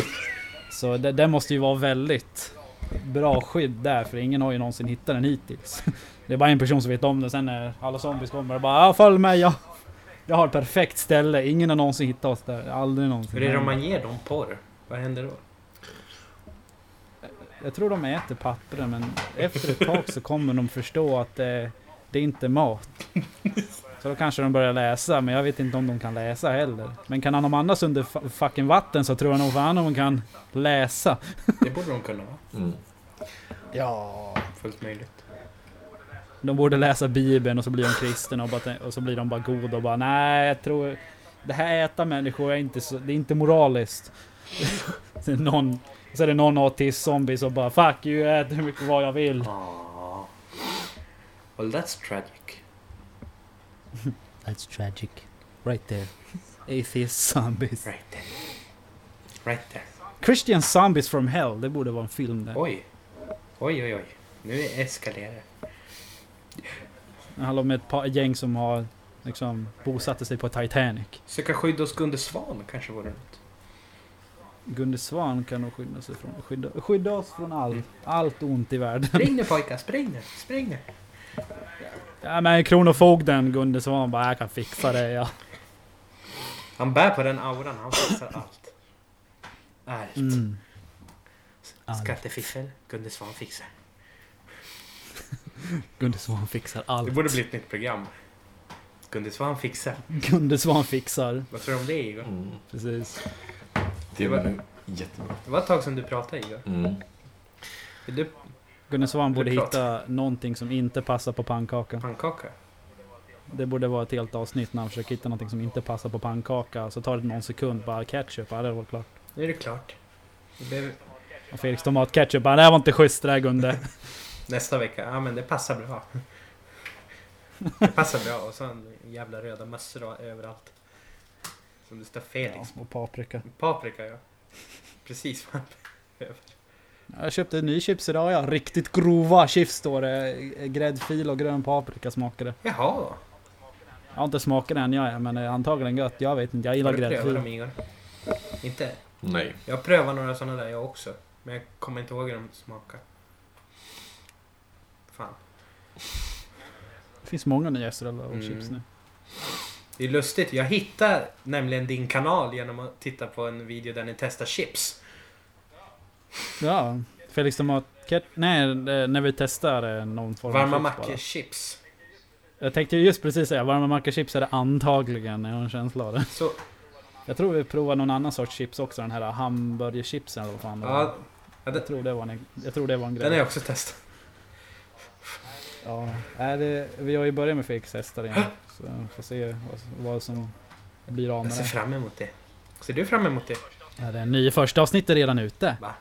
Speaker 3: Så det, det måste ju vara väldigt bra skydd där, för ingen har ju någonsin hittat den hittills. (laughs) Det är bara en person som vet om det, sen när alla zombies kommer och bara ja, följ med, jag, jag har ett perfekt ställe. Ingen har någonsin hittat oss där, aldrig någonsin.
Speaker 1: Hur är det om man ger dem porr? Vad händer då?
Speaker 3: Jag tror de äter pappren men efter ett tag så kommer de förstå att det, det är inte mat. Så då kanske de börjar läsa, men jag vet inte om de kan läsa heller. Men kan han andas under fa- fucking vatten så tror jag nog fan de kan läsa.
Speaker 1: Det borde de kunna vara.
Speaker 2: Mm.
Speaker 3: Ja.
Speaker 1: Fullt möjligt.
Speaker 3: De borde läsa Bibeln och så blir de kristna och, bara, tän- och så blir de bara goda och bara nej, jag tror det här äta människor är inte så, det är inte moraliskt. (laughs) så, är det någon, så är det någon autist-zombie som bara fuck you, jag äter hur mycket vad jag vill.
Speaker 1: Ah. Well that's tragic.
Speaker 3: That's tragic. Right (laughs) there. Atheist zombies.
Speaker 1: Right there. Right there.
Speaker 3: Christian zombies from hell. Det borde vara en film där.
Speaker 1: Oj. Oj oj oj. Nu eskalerar det.
Speaker 3: Det handlar om ett par gäng som har liksom bosatte sig på Titanic.
Speaker 1: Söka skydd hos Gunde Svan kanske vore något.
Speaker 3: Gunde Svan kan nog skydda sig från. Skydda, skydda oss från allt. Allt ont i världen.
Speaker 1: Spring nu pojkar, spring nu, spring nu.
Speaker 3: Ja, men Kronofogden Gunde Svan bara jag kan fixa det ja.
Speaker 1: Han bär på den auran, han fixar allt. Allt.
Speaker 3: (laughs) Mm. Allt.
Speaker 1: Skattefiffel, Gunde Svan fixar.
Speaker 3: Gunde Svan fixar allt.
Speaker 1: Det borde bli ett nytt program. Gunde Svan fixar.
Speaker 3: Gunde Svan fixar.
Speaker 1: Vad tror du om det Igor?
Speaker 2: Mm.
Speaker 3: Precis.
Speaker 2: Det var nog jättebra.
Speaker 1: Det var ett tag sedan du pratade Igor.
Speaker 2: Mm.
Speaker 1: Vill du
Speaker 3: Gunde Svan borde
Speaker 1: Det är klart.
Speaker 3: hitta någonting som inte passar på pannkakan.
Speaker 1: pannkaka?
Speaker 3: Det borde vara ett helt avsnitt när han försöker hitta någonting som inte passar på pannkaka. Så tar det någon sekund, bara ketchup, ja det var klart.
Speaker 1: Nu är det klart. Det blev
Speaker 3: Och Felix tomatketchup, ja det här var inte schysst det där Gunde.
Speaker 1: nästa vecka. Ja men det passar bra. Det passar bra. Och sen jävla röda mössor överallt. Som det står
Speaker 3: (laughs) Ja,
Speaker 1: Felix.
Speaker 3: och paprika.
Speaker 1: Paprika ja. Precis (laughs) vad han behöver.
Speaker 3: Jag köpte en ny chips idag ja, riktigt grova chips står det. Gräddfil och grön paprika smakade.
Speaker 1: Jaha.
Speaker 3: Jag har inte smakat den jag är, men eh, antagligen gött. Jag vet inte, jag gillar
Speaker 1: Har du prövat
Speaker 3: gräddfil.
Speaker 1: dem Igor? Inte?
Speaker 2: Nej.
Speaker 1: Jag prövar några sådana där jag också. Men jag kommer inte ihåg hur de smakar. Fan.
Speaker 3: finns många nya Estrella och
Speaker 1: Mm.
Speaker 3: chips nu.
Speaker 1: Det är lustigt. Jag hittade nämligen din kanal genom att titta på en video där ni testar chips.
Speaker 3: Ja, Felix Tomat... Ket- Nej, eh, när vi testar eh, någon form
Speaker 1: Varma
Speaker 3: chips bara.
Speaker 1: mackor-chips.
Speaker 3: Jag tänkte ju just precis säga, varma mackachips är det antagligen, jag har en känsla av det.
Speaker 1: Så,
Speaker 3: Jag tror vi provar någon annan sorts chips också, den här hamburgerchipsen eller vad fan det var.
Speaker 1: ja, ja,
Speaker 3: Jag
Speaker 1: den,
Speaker 3: tror det var en, jag tror det var en grej.
Speaker 1: den har jag också testat.
Speaker 3: Ja, är det, vi har ju börjat med Felix hästar igen. Så vi får se vad, vad som blir av
Speaker 1: Jag
Speaker 3: med
Speaker 1: ser
Speaker 3: det.
Speaker 1: fram emot det. Ser du fram emot det?
Speaker 3: Ja, det är nio första avsnittet redan ute.
Speaker 1: Va?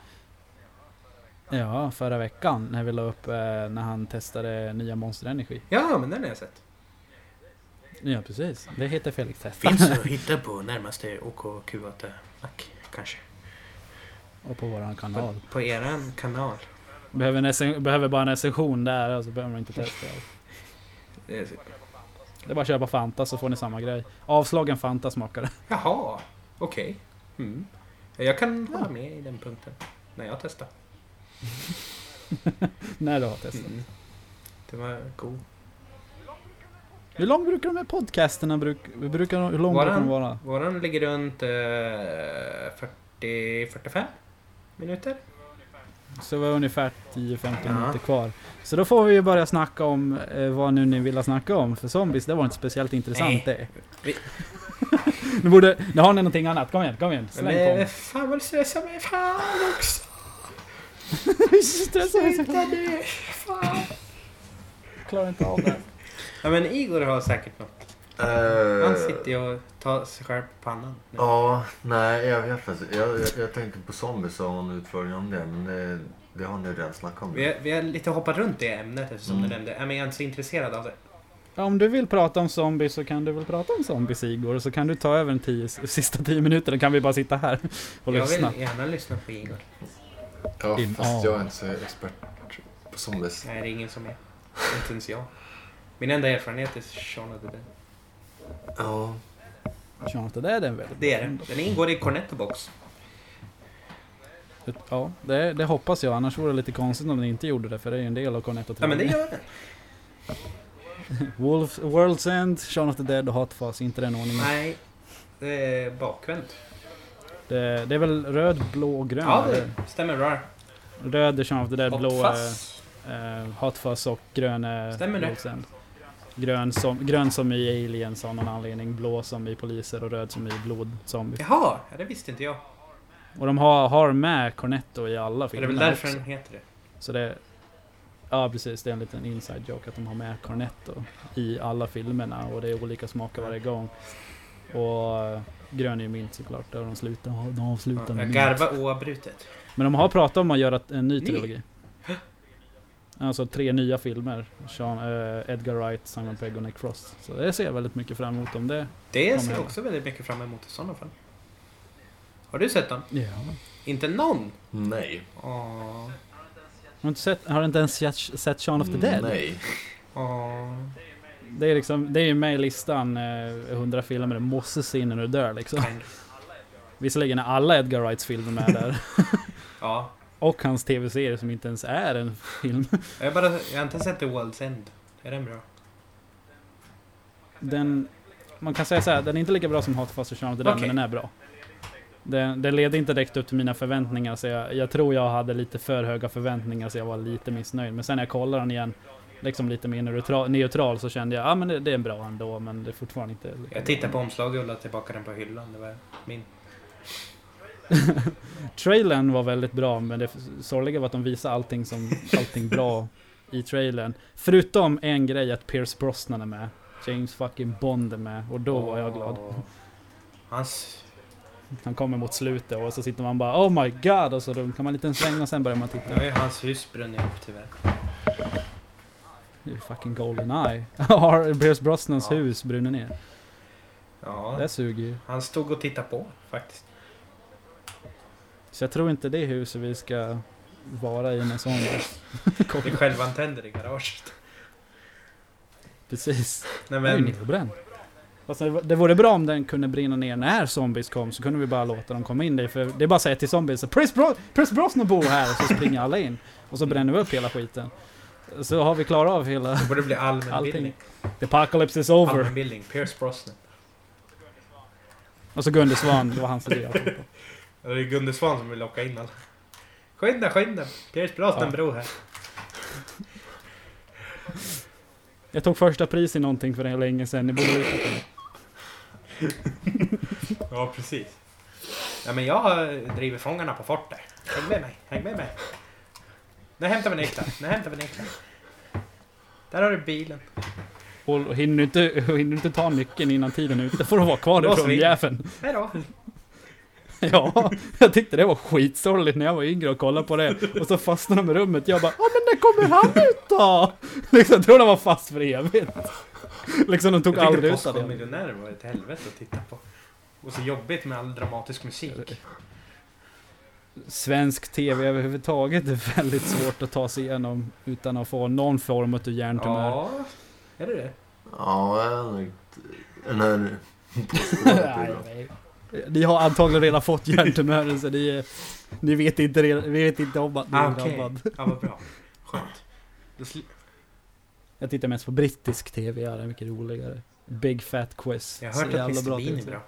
Speaker 3: Ja, förra veckan när vi la upp eh, när han testade nya Monster Energy.
Speaker 1: Ja, men den har jag sett.
Speaker 3: Ja, precis. Det heter Felix
Speaker 1: (laughs)
Speaker 3: hästar.
Speaker 1: Finns att hitta på närmaste OKQ8-mack, kanske.
Speaker 3: Och på våran kanal.
Speaker 1: På, på eran kanal.
Speaker 3: Behöver, en rec- behöver bara en recension där, så alltså behöver man inte testa allt.
Speaker 1: Det är så-
Speaker 3: Det är bara att köpa Fanta så får ni samma grej. Avslagen Fanta smakar (laughs) det.
Speaker 1: Jaha, okej. Mm. Jag kan hålla med i den punkten. När jag testar.
Speaker 3: När du har testat.
Speaker 1: Mm. Det var god.
Speaker 3: Hur lång brukar de här podcasterna bruk, brukar, de- hur lång
Speaker 1: Våran?
Speaker 3: brukar de vara?
Speaker 1: Våran ligger runt eh, 40-45 minuter.
Speaker 3: Så vi har ungefär 10-15
Speaker 1: Ja.
Speaker 3: minuter kvar. Så då får vi ju börja snacka om eh, vad nu ni vill snacka om. För zombies, det var inte speciellt intressant det.
Speaker 1: Vi-
Speaker 3: (laughs) nu, borde, nu har ni någonting annat, kom igen, kom igen. Släng
Speaker 1: Men (laughs) eh,
Speaker 3: på.
Speaker 1: fan vad du stressar mig. Fan också.
Speaker 3: Stressa mig så
Speaker 1: Sluta nu. Fan.
Speaker 3: jag klarar inte av det.
Speaker 1: Ja men Igor har säkert något.
Speaker 2: Eh,
Speaker 1: Han sitter ju och tar sig själv på pannan. nu.
Speaker 2: Ja, nej jag vet inte. Jag, jag, jag tänkte på zombies och en utfrågning om det men det, det har ni redan snackat om.
Speaker 1: Vi har, vi har lite hoppat runt det ämnet eftersom
Speaker 2: Mm.
Speaker 1: du nämnde. Ja, men jag är inte så intresserad av det.
Speaker 3: Ja, Om du vill prata om zombies så kan du väl prata om zombies Igor, så kan du ta över den tio, sista tio minuterna, kan vi bara sitta här och
Speaker 1: Jag
Speaker 3: lyssna.
Speaker 1: vill gärna lyssna på Igor.
Speaker 2: Ja,
Speaker 3: Din
Speaker 2: fast
Speaker 3: av.
Speaker 2: jag är inte så expert på zombies.
Speaker 1: Nej, det är ingen som är. Inte ens jag. Min enda erfarenhet är Shaun of the Dead.
Speaker 2: Ja.
Speaker 3: Sean of the Dead är en väldigt
Speaker 1: Det
Speaker 3: bra
Speaker 1: är den.
Speaker 3: ändå.
Speaker 1: Den ingår i Cornetto Box.
Speaker 3: Ja, det, det hoppas jag. Annars vore det lite konstigt om ni inte gjorde det, för det är ju en del av Cornetto
Speaker 1: Ja, men det gör den.
Speaker 3: Wolf, World's End, Shaun of the Dead och Hot Fuzz, inte den ordningen.
Speaker 1: Nej, det är bakvänt.
Speaker 3: Det, det är väl röd, blå och grön?
Speaker 1: Ja,
Speaker 3: eller?
Speaker 1: det stämmer bra.
Speaker 3: Röd är Shaun of the Dead, blå
Speaker 1: Hot fast.
Speaker 3: är, eh, Hot Fuzz och grön är
Speaker 1: Stämmer det?
Speaker 3: World's End. Grön som, grön som i aliens av någon anledning, blå som i poliser och röd som i blodzombies.
Speaker 1: Jaha, ja, det visste inte jag.
Speaker 3: Och de har, har med Cornetto i alla
Speaker 1: Det
Speaker 3: filmer
Speaker 1: är väl därför
Speaker 3: också.
Speaker 1: den heter det.
Speaker 3: Så det... Ja precis, det är en liten inside joke att de har med Cornetto i alla filmerna och det är olika smaker varje gång. Och eh, grön är ju mint såklart, där de slutar, de avslutar med
Speaker 1: Jag
Speaker 3: mint.
Speaker 1: garvar oavbrutet.
Speaker 3: Men de har pratat om att göra ett- en ny
Speaker 1: Ny?
Speaker 3: trilogi. Alltså tre nya filmer. Sean, eh, Edgar Wright, Simon Pegg och Nick Frost. Så det ser jag väldigt mycket fram emot om det.
Speaker 1: Det ser
Speaker 3: Kommer
Speaker 1: jag
Speaker 3: jag.
Speaker 1: också väldigt mycket fram emot i sådana fall. Har du sett den?
Speaker 3: Ja.
Speaker 1: Inte någon?
Speaker 2: Nej.
Speaker 1: Åh,
Speaker 3: Har du inte sett, har du inte ens sett, sett Shaun of the Dead?
Speaker 2: Mm, Nej.
Speaker 1: åh.
Speaker 3: Det är liksom, det är ju med i listan eh, 100 filmer du måste se innan du dör liksom.
Speaker 1: kind of.
Speaker 3: Visserligen är alla Edgar Wrights filmer med
Speaker 1: (laughs)
Speaker 3: där.
Speaker 1: Ja.
Speaker 3: Och hans tv-serie som inte ens är en film.
Speaker 1: Jag, har bara, jag har inte sett The World's End. Är den bra?
Speaker 3: Den, man kan säga så här, den är inte lika bra som Hot Fuzz och Shaun of the Dead,
Speaker 1: Okej.
Speaker 3: men den är bra. Den, den ledde inte direkt upp till mina förväntningar, så jag, jag tror jag hade lite för höga förväntningar, så jag var lite missnöjd. Men sen när jag kollar den igen, liksom lite mer neutral, neutral så kände jag, ja ah, men det, det är bra ändå, men det är fortfarande inte... lika
Speaker 1: Jag
Speaker 3: bra."
Speaker 1: tittade på omslaget och la tillbaka den på hyllan. Det var min.
Speaker 3: Trailern var väldigt bra, men det sorgliga var att de visade
Speaker 1: (laughs)
Speaker 3: allting som allting bra i trailern. Förutom en grej att Pierce Brosnan är med. James fucking Bond är med och då var jag glad.
Speaker 1: Åh. Hans...
Speaker 3: Han kommer mot slutet och så sitter man bara Oh my god! Och så då kan man en liten sväng och sen börjar man
Speaker 1: Nu
Speaker 3: titta.
Speaker 1: har ju hans hus brunnit upp tyvärr.
Speaker 3: Det är fucking Goldeneye. (laughs) Har Pierce Brosnans
Speaker 1: Ja.
Speaker 3: hus brunner ner.
Speaker 1: Ja,
Speaker 3: Det suger ju.
Speaker 1: han stod och tittade på faktiskt.
Speaker 3: Så jag tror inte det är huset vi ska vara i
Speaker 1: (laughs)
Speaker 3: när sån
Speaker 1: Det är
Speaker 3: kommer.
Speaker 1: självantänder i garaget.
Speaker 3: Precis.
Speaker 1: Nej
Speaker 3: Den är ju
Speaker 1: men,
Speaker 3: nerbränd. Fast Alltså, det- det vore bra om den kunde brinna ner när zombies kom så kunde vi bara låta dem komma in där. För det är bara att säga till zombies Press Bro- Pierce Brosnan bor här! Och så springer alla in. Och så bränner vi upp hela skiten. Så har vi klarat av hela
Speaker 1: Det borde bli allmänbildning.
Speaker 3: allting. The apocalypse is over.
Speaker 1: Allmänbildning. Pierce Brosnan.
Speaker 3: Och så Gunde Svan, det var hans idé. jag kom på.
Speaker 1: Det är Gunde Svan som vill locka in alla. Skynda, skynda! Pierce Brosnan
Speaker 3: Ja.
Speaker 1: bror här.
Speaker 3: Jag tog första pris i någonting för länge sedan. Ni borde veta det.
Speaker 1: Ja, precis. Ja, men jag eh, driver Fångarna på fortet. Häng med mig, häng med mig. Nu hämtar vi nycklar, nu hämtar vi nycklar. Där har du bilen.
Speaker 3: Och hinner du inte, hinner du inte ta nyckeln innan tiden är ute får du vara kvar
Speaker 1: Lås
Speaker 3: ifrån
Speaker 1: vi in.
Speaker 3: jäveln.
Speaker 1: Hej
Speaker 3: (laughs)
Speaker 1: då!
Speaker 3: Ja, jag tyckte det var skitsorgligt när jag var yngre och kollade på det. Och så fastnade de i rummet. Jag bara, ja men när kommer han ut då? (laughs) Liksom, jag tror de var fast för evigt. (laughs) Liksom de tog
Speaker 1: Jag tyckte
Speaker 3: aldrig ut av det.
Speaker 1: Postkodmiljonärer var ett helvete att titta på. Och så jobbigt med all dramatisk musik.
Speaker 3: Svensk tv överhuvudtaget är väldigt svårt att ta sig igenom utan att få någon form av hjärntumör.
Speaker 1: Ja, är det det?
Speaker 2: Ja, jag har nog inte- den här...
Speaker 3: Nej, nej. Ni har antagligen redan fått hjärntumören så ni, ni vet, inte, re- vi vet inte om att ni
Speaker 1: Ah,
Speaker 3: är
Speaker 1: okej.
Speaker 3: drabbad.
Speaker 1: Ja, vad bra. Skönt. Då sli-
Speaker 3: Jag tittar mest på brittisk tv, ja, det är mycket roligare. Big Fat Quiz.
Speaker 1: Jag
Speaker 3: Så
Speaker 1: har hört
Speaker 3: jävla
Speaker 1: att Mr Bean är
Speaker 3: tv.
Speaker 1: bra.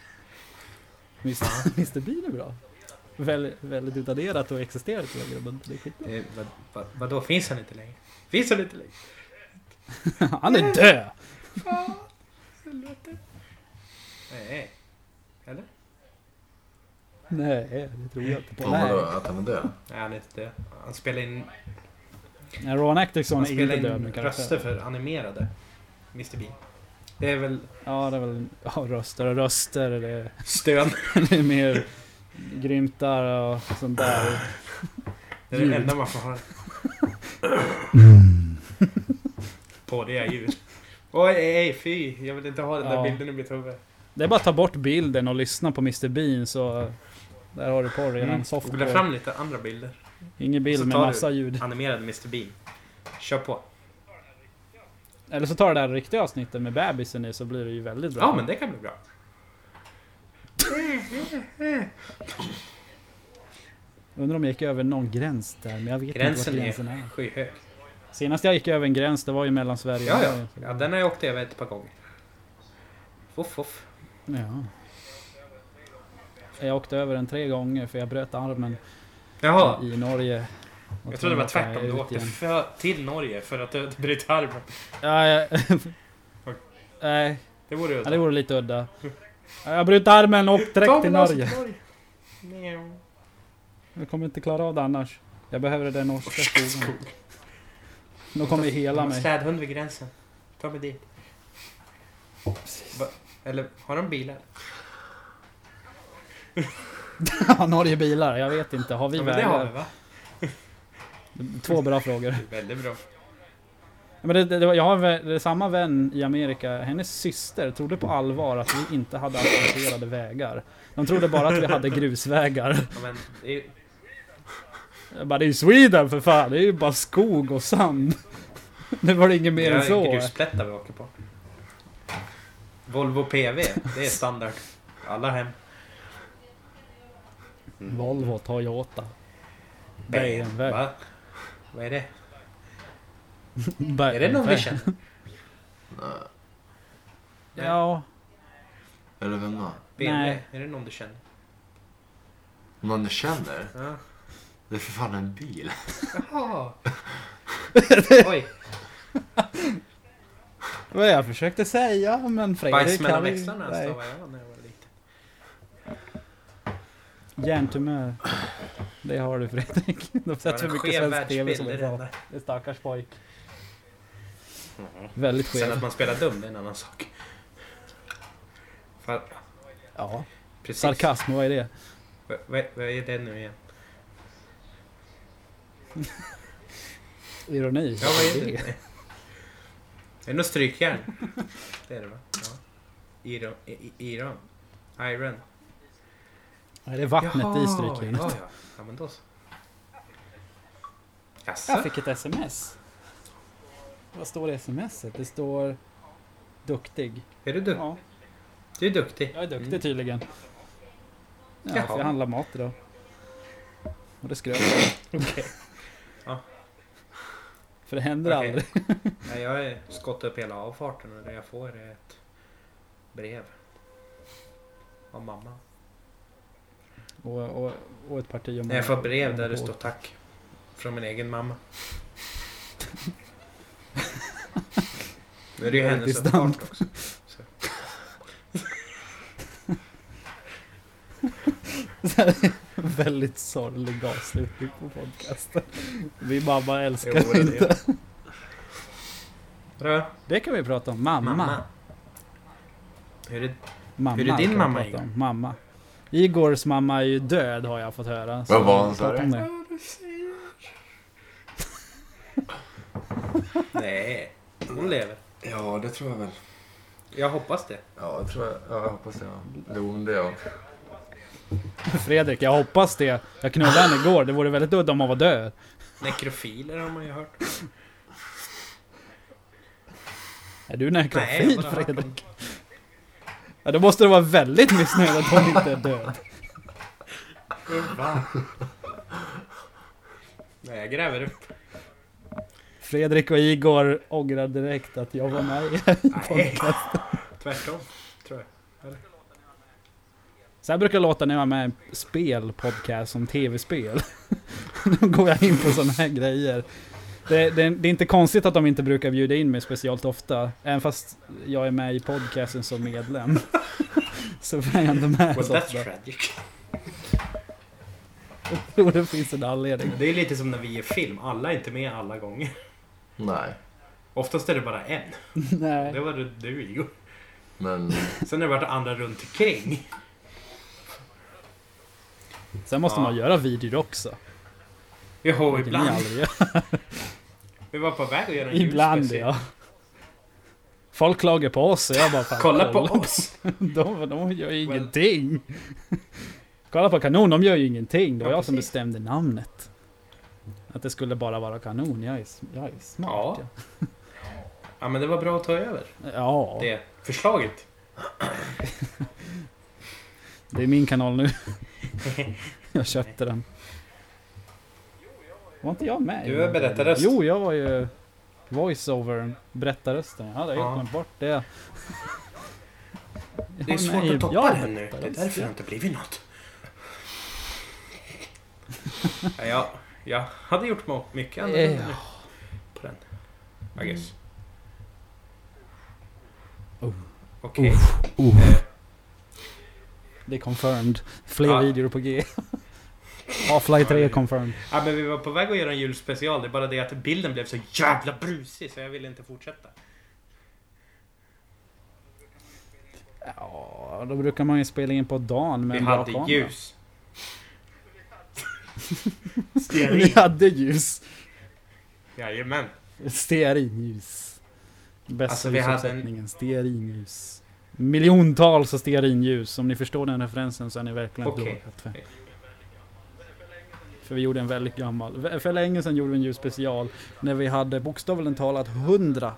Speaker 3: (laughs) Mr. Mr Bean är bra. Väl, väldigt utraderat och existerat längre, men det
Speaker 1: (laughs)
Speaker 3: är skitbra.
Speaker 1: Eh, vad, vad, vadå, finns han inte längre? Finns han inte längre?
Speaker 3: Han är död!
Speaker 1: Fan, helvete. Nej. Eller?
Speaker 3: Nej, det tror jag inte på.
Speaker 2: Om vadå?
Speaker 3: Nej,
Speaker 2: Att han var död?
Speaker 1: Nej, han är inte död. Han spelar in,
Speaker 3: Nej, Ron Atkinson
Speaker 1: han
Speaker 3: är inte
Speaker 1: spelar
Speaker 3: död
Speaker 1: in
Speaker 3: min karaktär.
Speaker 1: röster för animerade Mr Bean. Det är väl
Speaker 3: Ja, det är väl ja, röster och röster. Det är,
Speaker 1: stön.
Speaker 3: (laughs) det är mer grymtar och sånt där.
Speaker 1: Det är det
Speaker 3: Ljud.
Speaker 1: enda man får
Speaker 3: (laughs)
Speaker 1: höra. På det är ljud. Oj, ej, fy. Jag vill inte ha den där
Speaker 3: Ja.
Speaker 1: bilden i mitt huvud.
Speaker 3: Det är bara att ta bort bilden och lyssna på Mr Bean så... Där har du porr redan.
Speaker 1: Mm.
Speaker 3: Soft
Speaker 1: Spola
Speaker 3: porr.
Speaker 1: fram lite andra bilder.
Speaker 3: Ingen
Speaker 1: och så
Speaker 3: bild med
Speaker 1: tar du-
Speaker 3: massa ljud.
Speaker 1: Animerade Mr Bean. Kör på.
Speaker 3: Eller så tar du det här riktiga avsnittet med bebisen i så blir det ju väldigt bra.
Speaker 1: Ja, men det kan bli bra.
Speaker 3: Undrar om jag gick över någon gräns där, men jag vet
Speaker 1: Gränsen
Speaker 3: inte
Speaker 1: är
Speaker 3: vart gränsen är.
Speaker 1: skyhög.
Speaker 3: Senast jag gick över en gräns, det var ju mellan Sverige
Speaker 1: Ja,
Speaker 3: och
Speaker 1: ja.
Speaker 3: Norge.
Speaker 1: ja den har jag åkt över ett par gånger. Fuff, fuff.
Speaker 3: ja. Jag åkte över den tre gånger för jag bröt armen
Speaker 1: Jaha.
Speaker 3: i Norge. Och
Speaker 1: Jag trodde det var
Speaker 3: tvungen att ta
Speaker 1: tvärtom. Du
Speaker 3: ut
Speaker 1: åkte
Speaker 3: igen.
Speaker 1: för, till Norge för att du du bröt armen. (laughs)
Speaker 3: Ja, (laughs) jag... Nej,
Speaker 1: Det vore ju...
Speaker 3: ja, det vore lite udda. Ja, Jag bröt armen och åkte direkt till Norge.
Speaker 1: Norge.
Speaker 3: Jag kommer inte klara av det annars. Jag behöver den norska skogen. De kommer ju
Speaker 1: (laughs)
Speaker 3: hela mig. (laughs)
Speaker 1: Slädhund vid gränsen. Ta mig dit. Va? Eller har de bilar?
Speaker 3: Har Norge bilar? Jag vet inte. Har vi
Speaker 1: ja, men det har vi
Speaker 3: vägar?
Speaker 1: va?
Speaker 3: Två bra frågor.
Speaker 1: Det är väldigt bra.
Speaker 3: Men det, det, det var- jag har en vä- det är samma vän i Amerika. Hennes syster trodde på allvar att vi inte hade asfalterade vägar. De trodde bara att vi hade grusvägar.
Speaker 1: Ja, men, det är,
Speaker 3: Jag bara, det är ju Sweden för fan! Det är ju bara skog och sand. (laughs) Det var det inget mer
Speaker 1: det
Speaker 3: än
Speaker 1: är
Speaker 3: så.
Speaker 1: grusplättar vi åker på. Volvo PV, det är standard. Alla hem.
Speaker 3: Volvo, Toyota. BMW.
Speaker 1: mm. Va? Vad är det?
Speaker 3: BMW.
Speaker 1: Är det någon vi känner?
Speaker 2: Nej.
Speaker 3: Ja.
Speaker 2: Eller vem då?
Speaker 1: BMW?
Speaker 3: Nej.
Speaker 1: Är det någon du känner?
Speaker 2: Någon du känner?
Speaker 1: Ja.
Speaker 2: Det är för fan en bil.
Speaker 3: (laughs)
Speaker 1: Jaha! Oj,
Speaker 3: Vad jag försökte säga, men Fredrik...
Speaker 1: bajs mellan
Speaker 3: han-
Speaker 1: växlarna
Speaker 3: nej.
Speaker 1: stavade jag när jag var liten.
Speaker 3: Hjärntumör. Det har du Fredrik. (laughs) De
Speaker 1: Det var
Speaker 3: sätter för
Speaker 1: en
Speaker 3: mycket
Speaker 1: skev
Speaker 3: svensk tv som
Speaker 1: världsbild, det
Speaker 3: är
Speaker 1: är det
Speaker 3: bra.
Speaker 1: enda.
Speaker 3: Det är stackars pojk. Väldigt
Speaker 1: Mm-hmm. Sen att
Speaker 3: skev.
Speaker 1: man spelar dum, det är en annan sak. Fan,
Speaker 3: Ja.
Speaker 1: precis.
Speaker 3: Sarkasm, vad är det?
Speaker 1: Vad vad- vad är det nu igen?
Speaker 3: Ironi?
Speaker 1: Ja, vad är det? Är det något strykjärn? Det är det va? Ja. Iron. i- Iron. Iron.
Speaker 3: Nej, det är vattnet i strykjärnet.
Speaker 1: Ja, ja. ja, men då så. Jaså?
Speaker 3: Jag fick ett sms. Vad står det i smset? Det står... Duktig.
Speaker 1: Är du duktig?
Speaker 3: Ja,
Speaker 1: Du är duktig.
Speaker 3: jag är duktig tydligen. Ja,
Speaker 1: Jaha.
Speaker 3: för jag handlar mat
Speaker 1: (laughs)
Speaker 3: idag. Och det skröt jag.
Speaker 1: Okej. Ja.
Speaker 3: För det händer
Speaker 1: Okej.
Speaker 3: aldrig. (laughs)
Speaker 1: Nej, jag har skottat upp hela avfarten och det jag får är ett brev. Av mamma.
Speaker 3: Och, och, och ett parti om
Speaker 1: Nej, jag får ett brev där det står tack. Från min egen mamma. Nu är det ju hennes
Speaker 3: Väldigt
Speaker 1: uppfart också. Så.
Speaker 3: (laughs) Väldigt sorglig avslutning på podcasten. Vi mamma
Speaker 1: Jo,
Speaker 3: älskar
Speaker 1: det är
Speaker 3: inte.
Speaker 1: det. Bra.
Speaker 3: Det kan vi prata om. Mamma.
Speaker 1: Mamma. Hur är det?
Speaker 3: mamma
Speaker 1: Hur är din
Speaker 3: kan vi
Speaker 1: mamma,
Speaker 3: prata
Speaker 1: Igor?
Speaker 3: om. Mamma. Igors mamma är ju död har jag fått höra. så
Speaker 2: Vad var hon, sa
Speaker 3: prata
Speaker 2: du?
Speaker 3: om det.
Speaker 1: Nej, hon lever.
Speaker 2: Ja, det tror jag väl.
Speaker 1: Jag hoppas det.
Speaker 2: Ja, det tror jag. Ja, jag hoppas det. Ja. Jo, men det ja.
Speaker 3: Fredrik, jag hoppas det. Jag knullade henne igår. Det vore väldigt udda om hon var död.
Speaker 1: Nekrofiler har man ju hört.
Speaker 3: Är du
Speaker 1: Nej,
Speaker 3: nekrofil
Speaker 1: jag har bara hört
Speaker 3: Fredrik?
Speaker 1: om-
Speaker 3: Ja, då måste du vara väldigt missnöjd att hon inte är död.
Speaker 1: Nej, jag gräver
Speaker 3: (laughs)
Speaker 1: upp.
Speaker 3: Fredrik och Igor ångrar direkt att jag var med i
Speaker 1: Nej,
Speaker 3: podcasten.
Speaker 1: tvärtom. Tror jag.
Speaker 3: Så här brukar det låta när jag är med i en spelpodcast som tv-spel. (laughs) Då går jag in på sådana här grejer. Det, det, det är inte konstigt att de inte brukar bjuda in mig speciellt ofta. Även fast jag är med i podcasten som medlem. (laughs) Så är jag inte med
Speaker 1: Well,
Speaker 3: så ofta.
Speaker 1: that's tragic.
Speaker 3: Jag tror det finns en anledning.
Speaker 1: Det är lite som när vi gör film. Alla är inte med alla gånger.
Speaker 2: Nej,
Speaker 1: Oftast är det bara en.
Speaker 3: Nej.
Speaker 1: Det var du, du Igor.
Speaker 2: men...
Speaker 1: Sen har det varit andra runt omkring.
Speaker 3: Sen måste
Speaker 1: Ja.
Speaker 3: man göra videor också.
Speaker 1: Jo,
Speaker 3: Vilket ni
Speaker 1: ibland.
Speaker 3: aldrig gör.
Speaker 1: Vi var på väg att göra en
Speaker 3: Ibland
Speaker 1: julspecial.
Speaker 3: ja. Folk klagar på oss och jag bara fan,
Speaker 1: Kolla på oss!
Speaker 3: De, de gör ju ingenting. Kolla på kanon, de gör ju ingenting. Det var
Speaker 1: Ja,
Speaker 3: jag som
Speaker 1: precis.
Speaker 3: bestämde namnet. Att det skulle bara vara kanon. Jag är, s- jag är smart.
Speaker 1: Ja. Ja men det var bra att ta över
Speaker 3: Ja. Ja, det.
Speaker 1: det förslaget.
Speaker 3: är min
Speaker 1: (laughs)
Speaker 3: kanal nu. jag köpte den. Var inte jag med? i
Speaker 1: Du
Speaker 3: den
Speaker 1: är berättarröst.
Speaker 3: Jo, jag var ju voiceover berättarrösten. Jag hade helt
Speaker 1: Ja.
Speaker 3: glömt bort det.
Speaker 1: Det är
Speaker 3: Jag var med
Speaker 1: svårt
Speaker 3: i-
Speaker 1: att
Speaker 3: jag
Speaker 1: toppa
Speaker 3: är
Speaker 1: den nu. Det är
Speaker 3: berättarröst,
Speaker 1: därför
Speaker 3: ja.
Speaker 1: det inte blivit något. Ja, jag, jag hade gjort må- mycket annorlunda nu på den. I guess.
Speaker 3: Oh.
Speaker 1: Okej.
Speaker 3: Oh.
Speaker 1: Eh,
Speaker 3: Det är confirmed. Fler
Speaker 1: Ja.
Speaker 3: videor på G. Half-Life 3 är confirmed.
Speaker 1: Ja, men vi var på väg att göra en julspecial. Det är bara det att bilden blev så jävla brusig så jag ville inte fortsätta.
Speaker 3: Ja, då brukar man ju spela in på dagen med
Speaker 1: Vi
Speaker 3: en bra
Speaker 1: hade
Speaker 3: kamera. (laughs)
Speaker 1: ljus.
Speaker 3: Vi
Speaker 1: Stearin.
Speaker 3: hade ljus.
Speaker 1: Jajamän.
Speaker 3: Stearinljus. Bästa
Speaker 1: Alltså,
Speaker 3: alltså,
Speaker 1: vi hade en-
Speaker 3: ljusuppsättningen. Stearinljus. Miljontals av stearinljus. Om ni förstår den referensen så är ni verkligen
Speaker 1: Okej.
Speaker 3: dåligt. För. för vi gjorde en väldigt gammal... För länge sedan gjorde vi en ljusspecial. När vi hade bokstavligen talat 100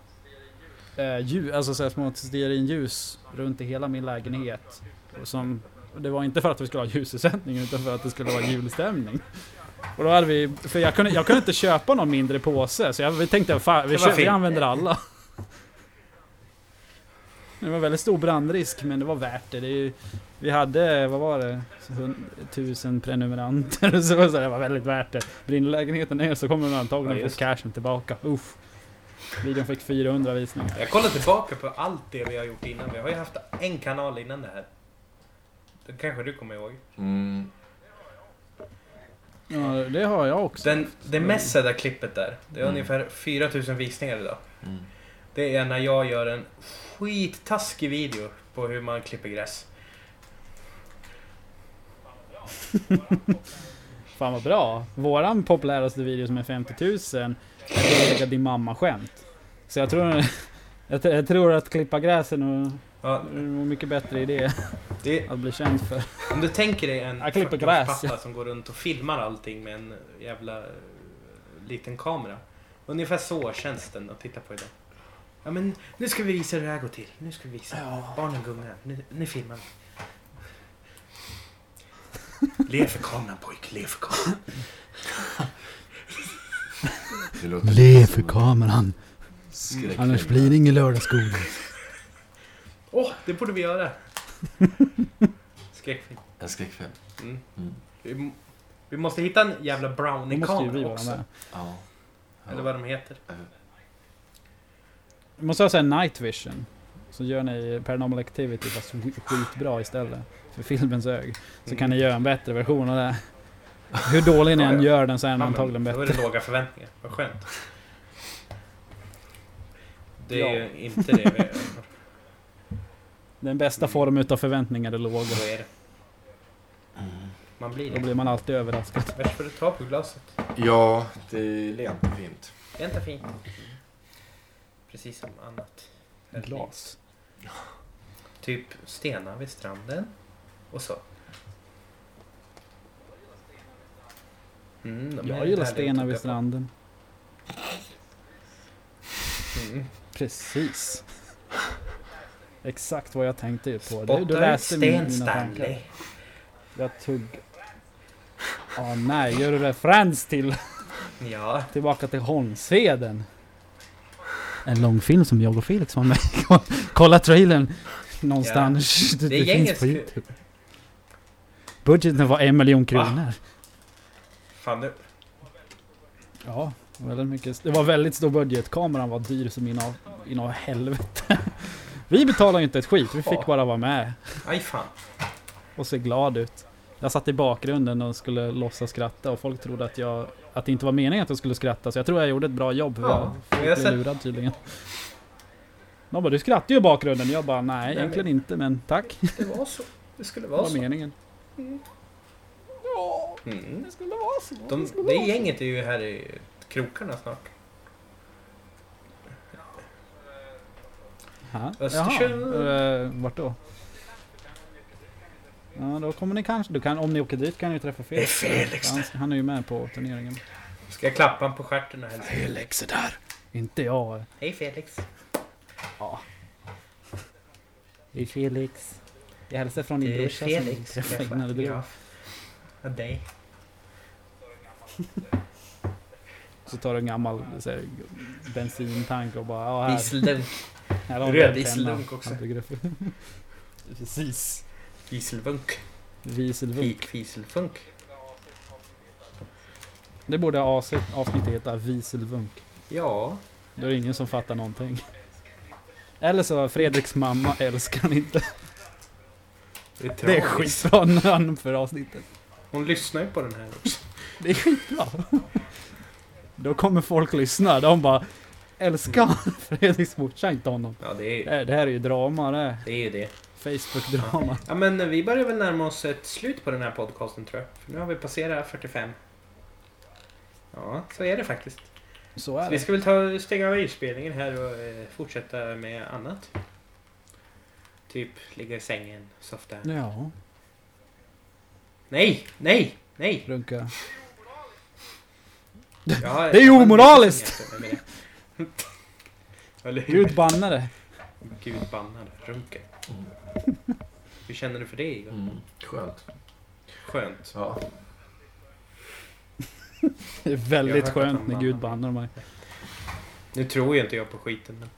Speaker 3: eh, ljus, alltså så här små stearinljus runt i hela min lägenhet. Och Som, och det var inte för att vi skulle ha ljussättning utan för att det skulle vara julstämning. Och då hade vi, för jag kunde, jag kunde inte köpa någon mindre påse så jag vi tänkte fan, vi,
Speaker 1: Det var
Speaker 3: kö, vi
Speaker 1: fint.
Speaker 3: använder alla. Det var väldigt stor brandrisk men det var värt det. det är ju, vi hade, vad var det, Hun- tusen prenumeranter (laughs) så det var så här, det var väldigt värt det. Brinner lägenheten ner så kommer de antagligen
Speaker 1: Ja,
Speaker 3: få
Speaker 1: just.
Speaker 3: cashen tillbaka. Uff. Videon fick 400 visningar.
Speaker 1: Jag kollar tillbaka på allt det vi har gjort innan. Vi har ju haft en kanal innan det här. Det kanske du kommer ihåg.
Speaker 2: Mm,
Speaker 3: Ja, det har jag också.
Speaker 1: Den, det
Speaker 3: Mm.
Speaker 1: mest sedda klippet där, det är ungefär 4000 visningar idag.
Speaker 2: Mm.
Speaker 1: Det är när jag gör en skittaskig video på hur man klipper gräs.
Speaker 3: Fan vad bra. Våran populäraste video som är 50 000 är lägga din mamma-skämt. Så jag tror, jag, tr- jag tror att klippa gräsen och
Speaker 1: Ja,
Speaker 3: det är en mycket bättre idé
Speaker 1: det,
Speaker 3: att bli känd för.
Speaker 1: om du tänker dig en
Speaker 3: Jag klipper
Speaker 1: 40-års
Speaker 3: gräs,
Speaker 1: pappa som går runt och filmar allting med en jävla eh, liten kamera. Ungefär så känns den att titta på idag. Ja men nu ska vi visa hur det här går till. Nu ska vi visa. Barnen gungar. Nu, nu filmar
Speaker 3: (laughs)
Speaker 1: vi. Le för kameran pojk, le för kameran.
Speaker 2: det låter
Speaker 3: Lev
Speaker 2: som
Speaker 3: för
Speaker 2: en
Speaker 3: kameran.
Speaker 2: skräckfilm.
Speaker 3: Annars blir det ingen lördagsgodis.
Speaker 1: Åh, det borde vi göra!
Speaker 3: (laughs)
Speaker 1: Skräckfilm.
Speaker 2: En skräckfilm.
Speaker 1: Mm.
Speaker 2: Mm.
Speaker 1: Vi, vi måste hitta en jävla
Speaker 3: Då måste ju vi
Speaker 1: brownie-kamera
Speaker 3: vara
Speaker 1: också.
Speaker 3: med.
Speaker 2: Ja. Ja.
Speaker 1: Eller vad de heter.
Speaker 3: Vi måste ha såhär night vision. Så gör ni Paranormal Activity fast sk- skitbra istället. För filmens ög. Så
Speaker 1: Mm.
Speaker 3: kan ni göra en bättre version av det. Hur dålig ni
Speaker 1: Ja,
Speaker 3: än
Speaker 1: ja.
Speaker 3: gör den så är den
Speaker 1: Ja, men
Speaker 3: antagligen
Speaker 1: Då
Speaker 3: bättre.
Speaker 1: är det låga förväntningar. Vad skönt. Det är
Speaker 3: Ja.
Speaker 1: ju inte det vi
Speaker 3: Den bästa formen utav förväntningar är låg.
Speaker 1: Då är det. Man blir
Speaker 3: Då
Speaker 1: det.
Speaker 3: blir man alltid överraskad.
Speaker 1: Värst får du ta på glaset.
Speaker 2: Ja, det är lent och fint.
Speaker 1: Det är inte fint.
Speaker 3: Mm.
Speaker 1: Precis som annat. här i livet.
Speaker 3: Glas.
Speaker 1: Typ stenar vid stranden. Och så. Mm, de är
Speaker 3: Jag gillar
Speaker 1: härliga att
Speaker 3: stenar vid
Speaker 1: titta på.
Speaker 3: stranden.
Speaker 1: Mm.
Speaker 3: Precis. Exakt vad jag tänkte ju på.
Speaker 1: Spotta
Speaker 3: Du, du läste
Speaker 1: ut
Speaker 3: min-
Speaker 1: sten
Speaker 3: mina tankar.
Speaker 1: Stanley.
Speaker 3: Jag tugg... Ah nej, gör du referens till
Speaker 1: Ja.
Speaker 3: Tillbaka till Holmsveden. En lång film som jag och Felix var med i. (laughs) Kolla trailern någonstans.
Speaker 1: Det
Speaker 3: Det, det,
Speaker 1: är
Speaker 3: finns
Speaker 1: gängets
Speaker 3: på
Speaker 1: kul.
Speaker 3: Youtube. Budgeten var en miljon kronor.
Speaker 1: Fan nu.
Speaker 3: Ja, väldigt mycket. Det var väldigt stor budget. Kameran var dyr som inav, inav helvete. (laughs) Vi betalade ju inte ett skit. Vi
Speaker 1: Ja.
Speaker 3: fick bara vara med
Speaker 1: Aj fan.
Speaker 3: och se glad ut. Jag satt i bakgrunden och skulle låtsas skratta och folk trodde att, jag, att det inte var meningen att jag skulle skratta. Så jag tror jag gjorde ett bra jobb. för
Speaker 1: Ja,
Speaker 3: jag
Speaker 1: men jag har
Speaker 3: Jag blev
Speaker 1: sett-
Speaker 3: lurad tydligen. De bara, du skrattar ju i bakgrunden. Jag bara, nej,
Speaker 1: Nej,
Speaker 3: egentligen
Speaker 1: men-
Speaker 3: inte, men tack. Det
Speaker 1: Det var så. Det skulle vara
Speaker 3: var
Speaker 1: så.
Speaker 3: meningen. Ja,
Speaker 1: Mm.
Speaker 3: skulle vara så.
Speaker 1: De, det gänget är ju här i krokarna snart. Östersund.
Speaker 3: Jaha, eh, vart då? Ja, då kommer ni kanske... Du kan, om ni åker dit kan ni ju träffa
Speaker 1: Det är
Speaker 3: Felix.
Speaker 1: Felix
Speaker 3: Han,
Speaker 1: där.
Speaker 3: han är ju med på turneringen.
Speaker 1: Ska jag klappa honom på stjärten och hälsa?
Speaker 3: Felix är där! Inte jag.
Speaker 1: Hej Felix.
Speaker 3: Ja. Det är Felix. Jag hälsar från din
Speaker 1: Det är
Speaker 3: brorsa
Speaker 1: Felix.
Speaker 3: som
Speaker 1: Jag
Speaker 3: träffade
Speaker 1: är
Speaker 3: när du drog.
Speaker 1: fotograf. Och dig.
Speaker 3: Så tar du en gammal så här, bensintank och bara... Ja, här.
Speaker 1: Dieseldunk.
Speaker 3: Här
Speaker 1: Röd
Speaker 3: har vi en penna.
Speaker 1: dieselunk också.
Speaker 3: Autograf. Precis.
Speaker 1: Dieselvunk.
Speaker 3: Dieselvunk.
Speaker 1: Fik Fieselfunk.
Speaker 3: Det borde avsnitt- avsnittet heta Dieselvunk.
Speaker 1: Ja.
Speaker 3: Då är det ingen som fattar någonting. Eller så Fredriks mamma älskar han inte.
Speaker 1: Det är,
Speaker 3: Det är
Speaker 1: tragiskt.
Speaker 3: skitbra namn för avsnittet.
Speaker 1: Hon lyssnar ju på den här också.
Speaker 3: Det är skitbra. Då kommer folk lyssna. De bara älskar han Fredriks morsa inte honom.
Speaker 1: Ja, det är (laughs)
Speaker 3: Det här- det här är ju drama det. här.
Speaker 1: det. Är ju det.
Speaker 3: Facebook-drama.
Speaker 1: Ja, men vi börjar väl närma oss ett slut på den här podcasten tror jag. För nu har vi passerat 45. Ja, så är det faktiskt.
Speaker 3: Så
Speaker 1: Så
Speaker 3: är
Speaker 1: vi
Speaker 3: det.
Speaker 1: ska väl ta, stänga av inspelningen här och eh, fortsätta med annat. Typ ligga i sängen, softa.
Speaker 3: Ja,
Speaker 1: Nej, nej, nej!
Speaker 3: runka.
Speaker 1: Jag har-
Speaker 3: (laughs) Det är ju
Speaker 1: jag har
Speaker 3: omoraliskt!
Speaker 1: lite sängen, jag menar.
Speaker 3: (laughs)
Speaker 1: Eller hur?
Speaker 3: Gud banna det.
Speaker 1: Gud bannade runken. Hur känner du för det Igor?
Speaker 2: Mm. Skönt.
Speaker 1: Skönt.
Speaker 2: Ja.
Speaker 3: Det är
Speaker 1: Jag har
Speaker 3: väldigt
Speaker 1: hört att
Speaker 3: skönt
Speaker 1: han
Speaker 3: när
Speaker 1: bannar
Speaker 3: Gud
Speaker 1: mig.
Speaker 3: bannar mig.
Speaker 1: Nu tror ju inte jag på skiten men...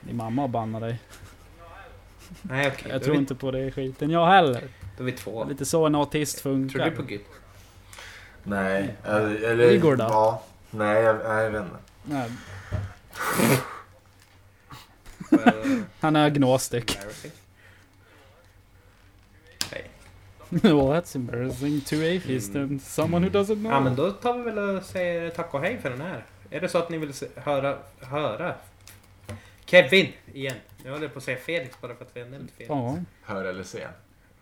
Speaker 3: Din mamma bannar dig.
Speaker 1: Nej okej,
Speaker 3: Jag
Speaker 1: då, är
Speaker 3: tror
Speaker 1: vi-
Speaker 3: inte på det skiten jag heller.
Speaker 1: då är vi två.
Speaker 3: Lite så en autist funkar.
Speaker 1: Tror du på Gud?
Speaker 2: Nej. Eller, eller,
Speaker 3: Igor då?
Speaker 2: Ja. Nej, jag, nej, jag vet inte.
Speaker 3: Nej, (laughs)
Speaker 1: Well,
Speaker 3: han är (laughs) agnostic.
Speaker 1: embarrassing.
Speaker 3: well that's embarrassing. Two atheists and someone who doesn't
Speaker 1: Mm.
Speaker 3: know.
Speaker 1: Ja men då tar vi väl och säger tack och hej för den här. Är det så att ni vill se- höra, höra Kevin igen? Nu håller jag på att säga Felix bara för att vi har nämnt Felix.
Speaker 3: Ja.
Speaker 2: Hör eller se?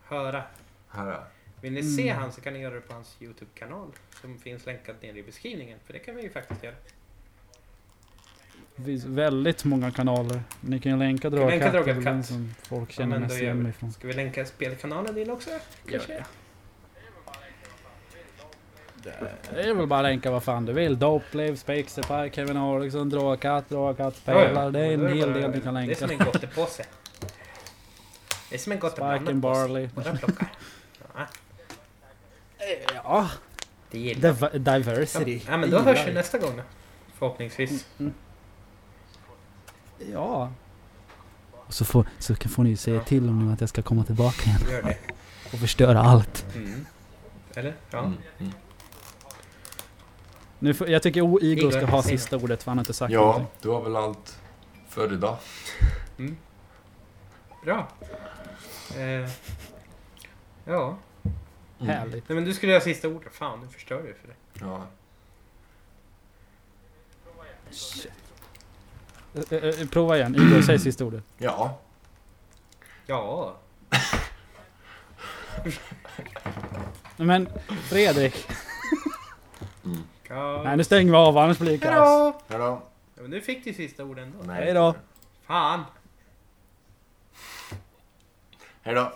Speaker 1: Höra.
Speaker 2: Höra.
Speaker 1: Vill ni se
Speaker 3: Mm.
Speaker 1: han så kan ni göra det på hans Youtube-kanal som finns länkad nere i beskrivningen. För det kan vi ju faktiskt göra.
Speaker 3: Det finns väldigt många kanaler. Ni kan ju länka
Speaker 1: kan länka
Speaker 3: Dragkatt.
Speaker 1: Dragkatt.
Speaker 3: till den som folk
Speaker 1: Ja,
Speaker 3: känner
Speaker 1: men då
Speaker 3: mest
Speaker 1: gör vi
Speaker 3: igen
Speaker 1: det.
Speaker 3: ifrån.
Speaker 1: Ska vi länka spelkanalen din också? Kanske?
Speaker 3: Det är väl bara att länka vad fan du vill. Doplave, Spexify, Kevin Arvidsson, Dragkatt, Dragkatt
Speaker 1: Ja, ja.
Speaker 3: spelar. Det är
Speaker 1: Då
Speaker 3: en hel
Speaker 1: bara-
Speaker 3: del ni kan
Speaker 1: Det är
Speaker 3: länka.
Speaker 1: som en gottepåse. Det är
Speaker 3: (laughs)
Speaker 1: som en
Speaker 3: Spark and
Speaker 1: gottepåse.
Speaker 3: Barley.
Speaker 1: Bara plocka. Ja,
Speaker 3: Ja,
Speaker 1: det gillar
Speaker 3: div- diversity.
Speaker 1: Ja, men då hörs vi nästa gång då. Förhoppningsvis.
Speaker 3: Ja,
Speaker 4: Och så, får, så kan- får ni ju säga till om nu att jag ska komma tillbaka igen
Speaker 1: Gör det.
Speaker 4: och förstöra allt.
Speaker 1: Mm. Eller? Ja.
Speaker 2: Mm, mm.
Speaker 3: nu får, jag tycker o- Igor ska
Speaker 1: Igor,
Speaker 3: ha
Speaker 1: säg
Speaker 3: sista ordet för han har inte sagt
Speaker 2: Ja,
Speaker 3: någonting.
Speaker 2: det var väl allt för idag.
Speaker 1: Bra. Eh, ja.
Speaker 2: Mm.
Speaker 3: Härligt.
Speaker 1: Nej, men du skulle göra sista ordet. Fan, nu förstör du för det.
Speaker 2: Ja.
Speaker 3: Ä- ä- ä, Eh, Prova igen, Igor säg sista ordet.
Speaker 2: ja,
Speaker 1: Ja.
Speaker 3: Men Fredrik,
Speaker 1: ja.
Speaker 3: nej nu stänger vi av annars blir det kaos.
Speaker 1: Hejdå!
Speaker 2: hejdå.
Speaker 1: Ja, men nu fick du sista ordet ändå.
Speaker 2: Nej.
Speaker 3: Hej då.
Speaker 1: Fan.
Speaker 2: Hejdå.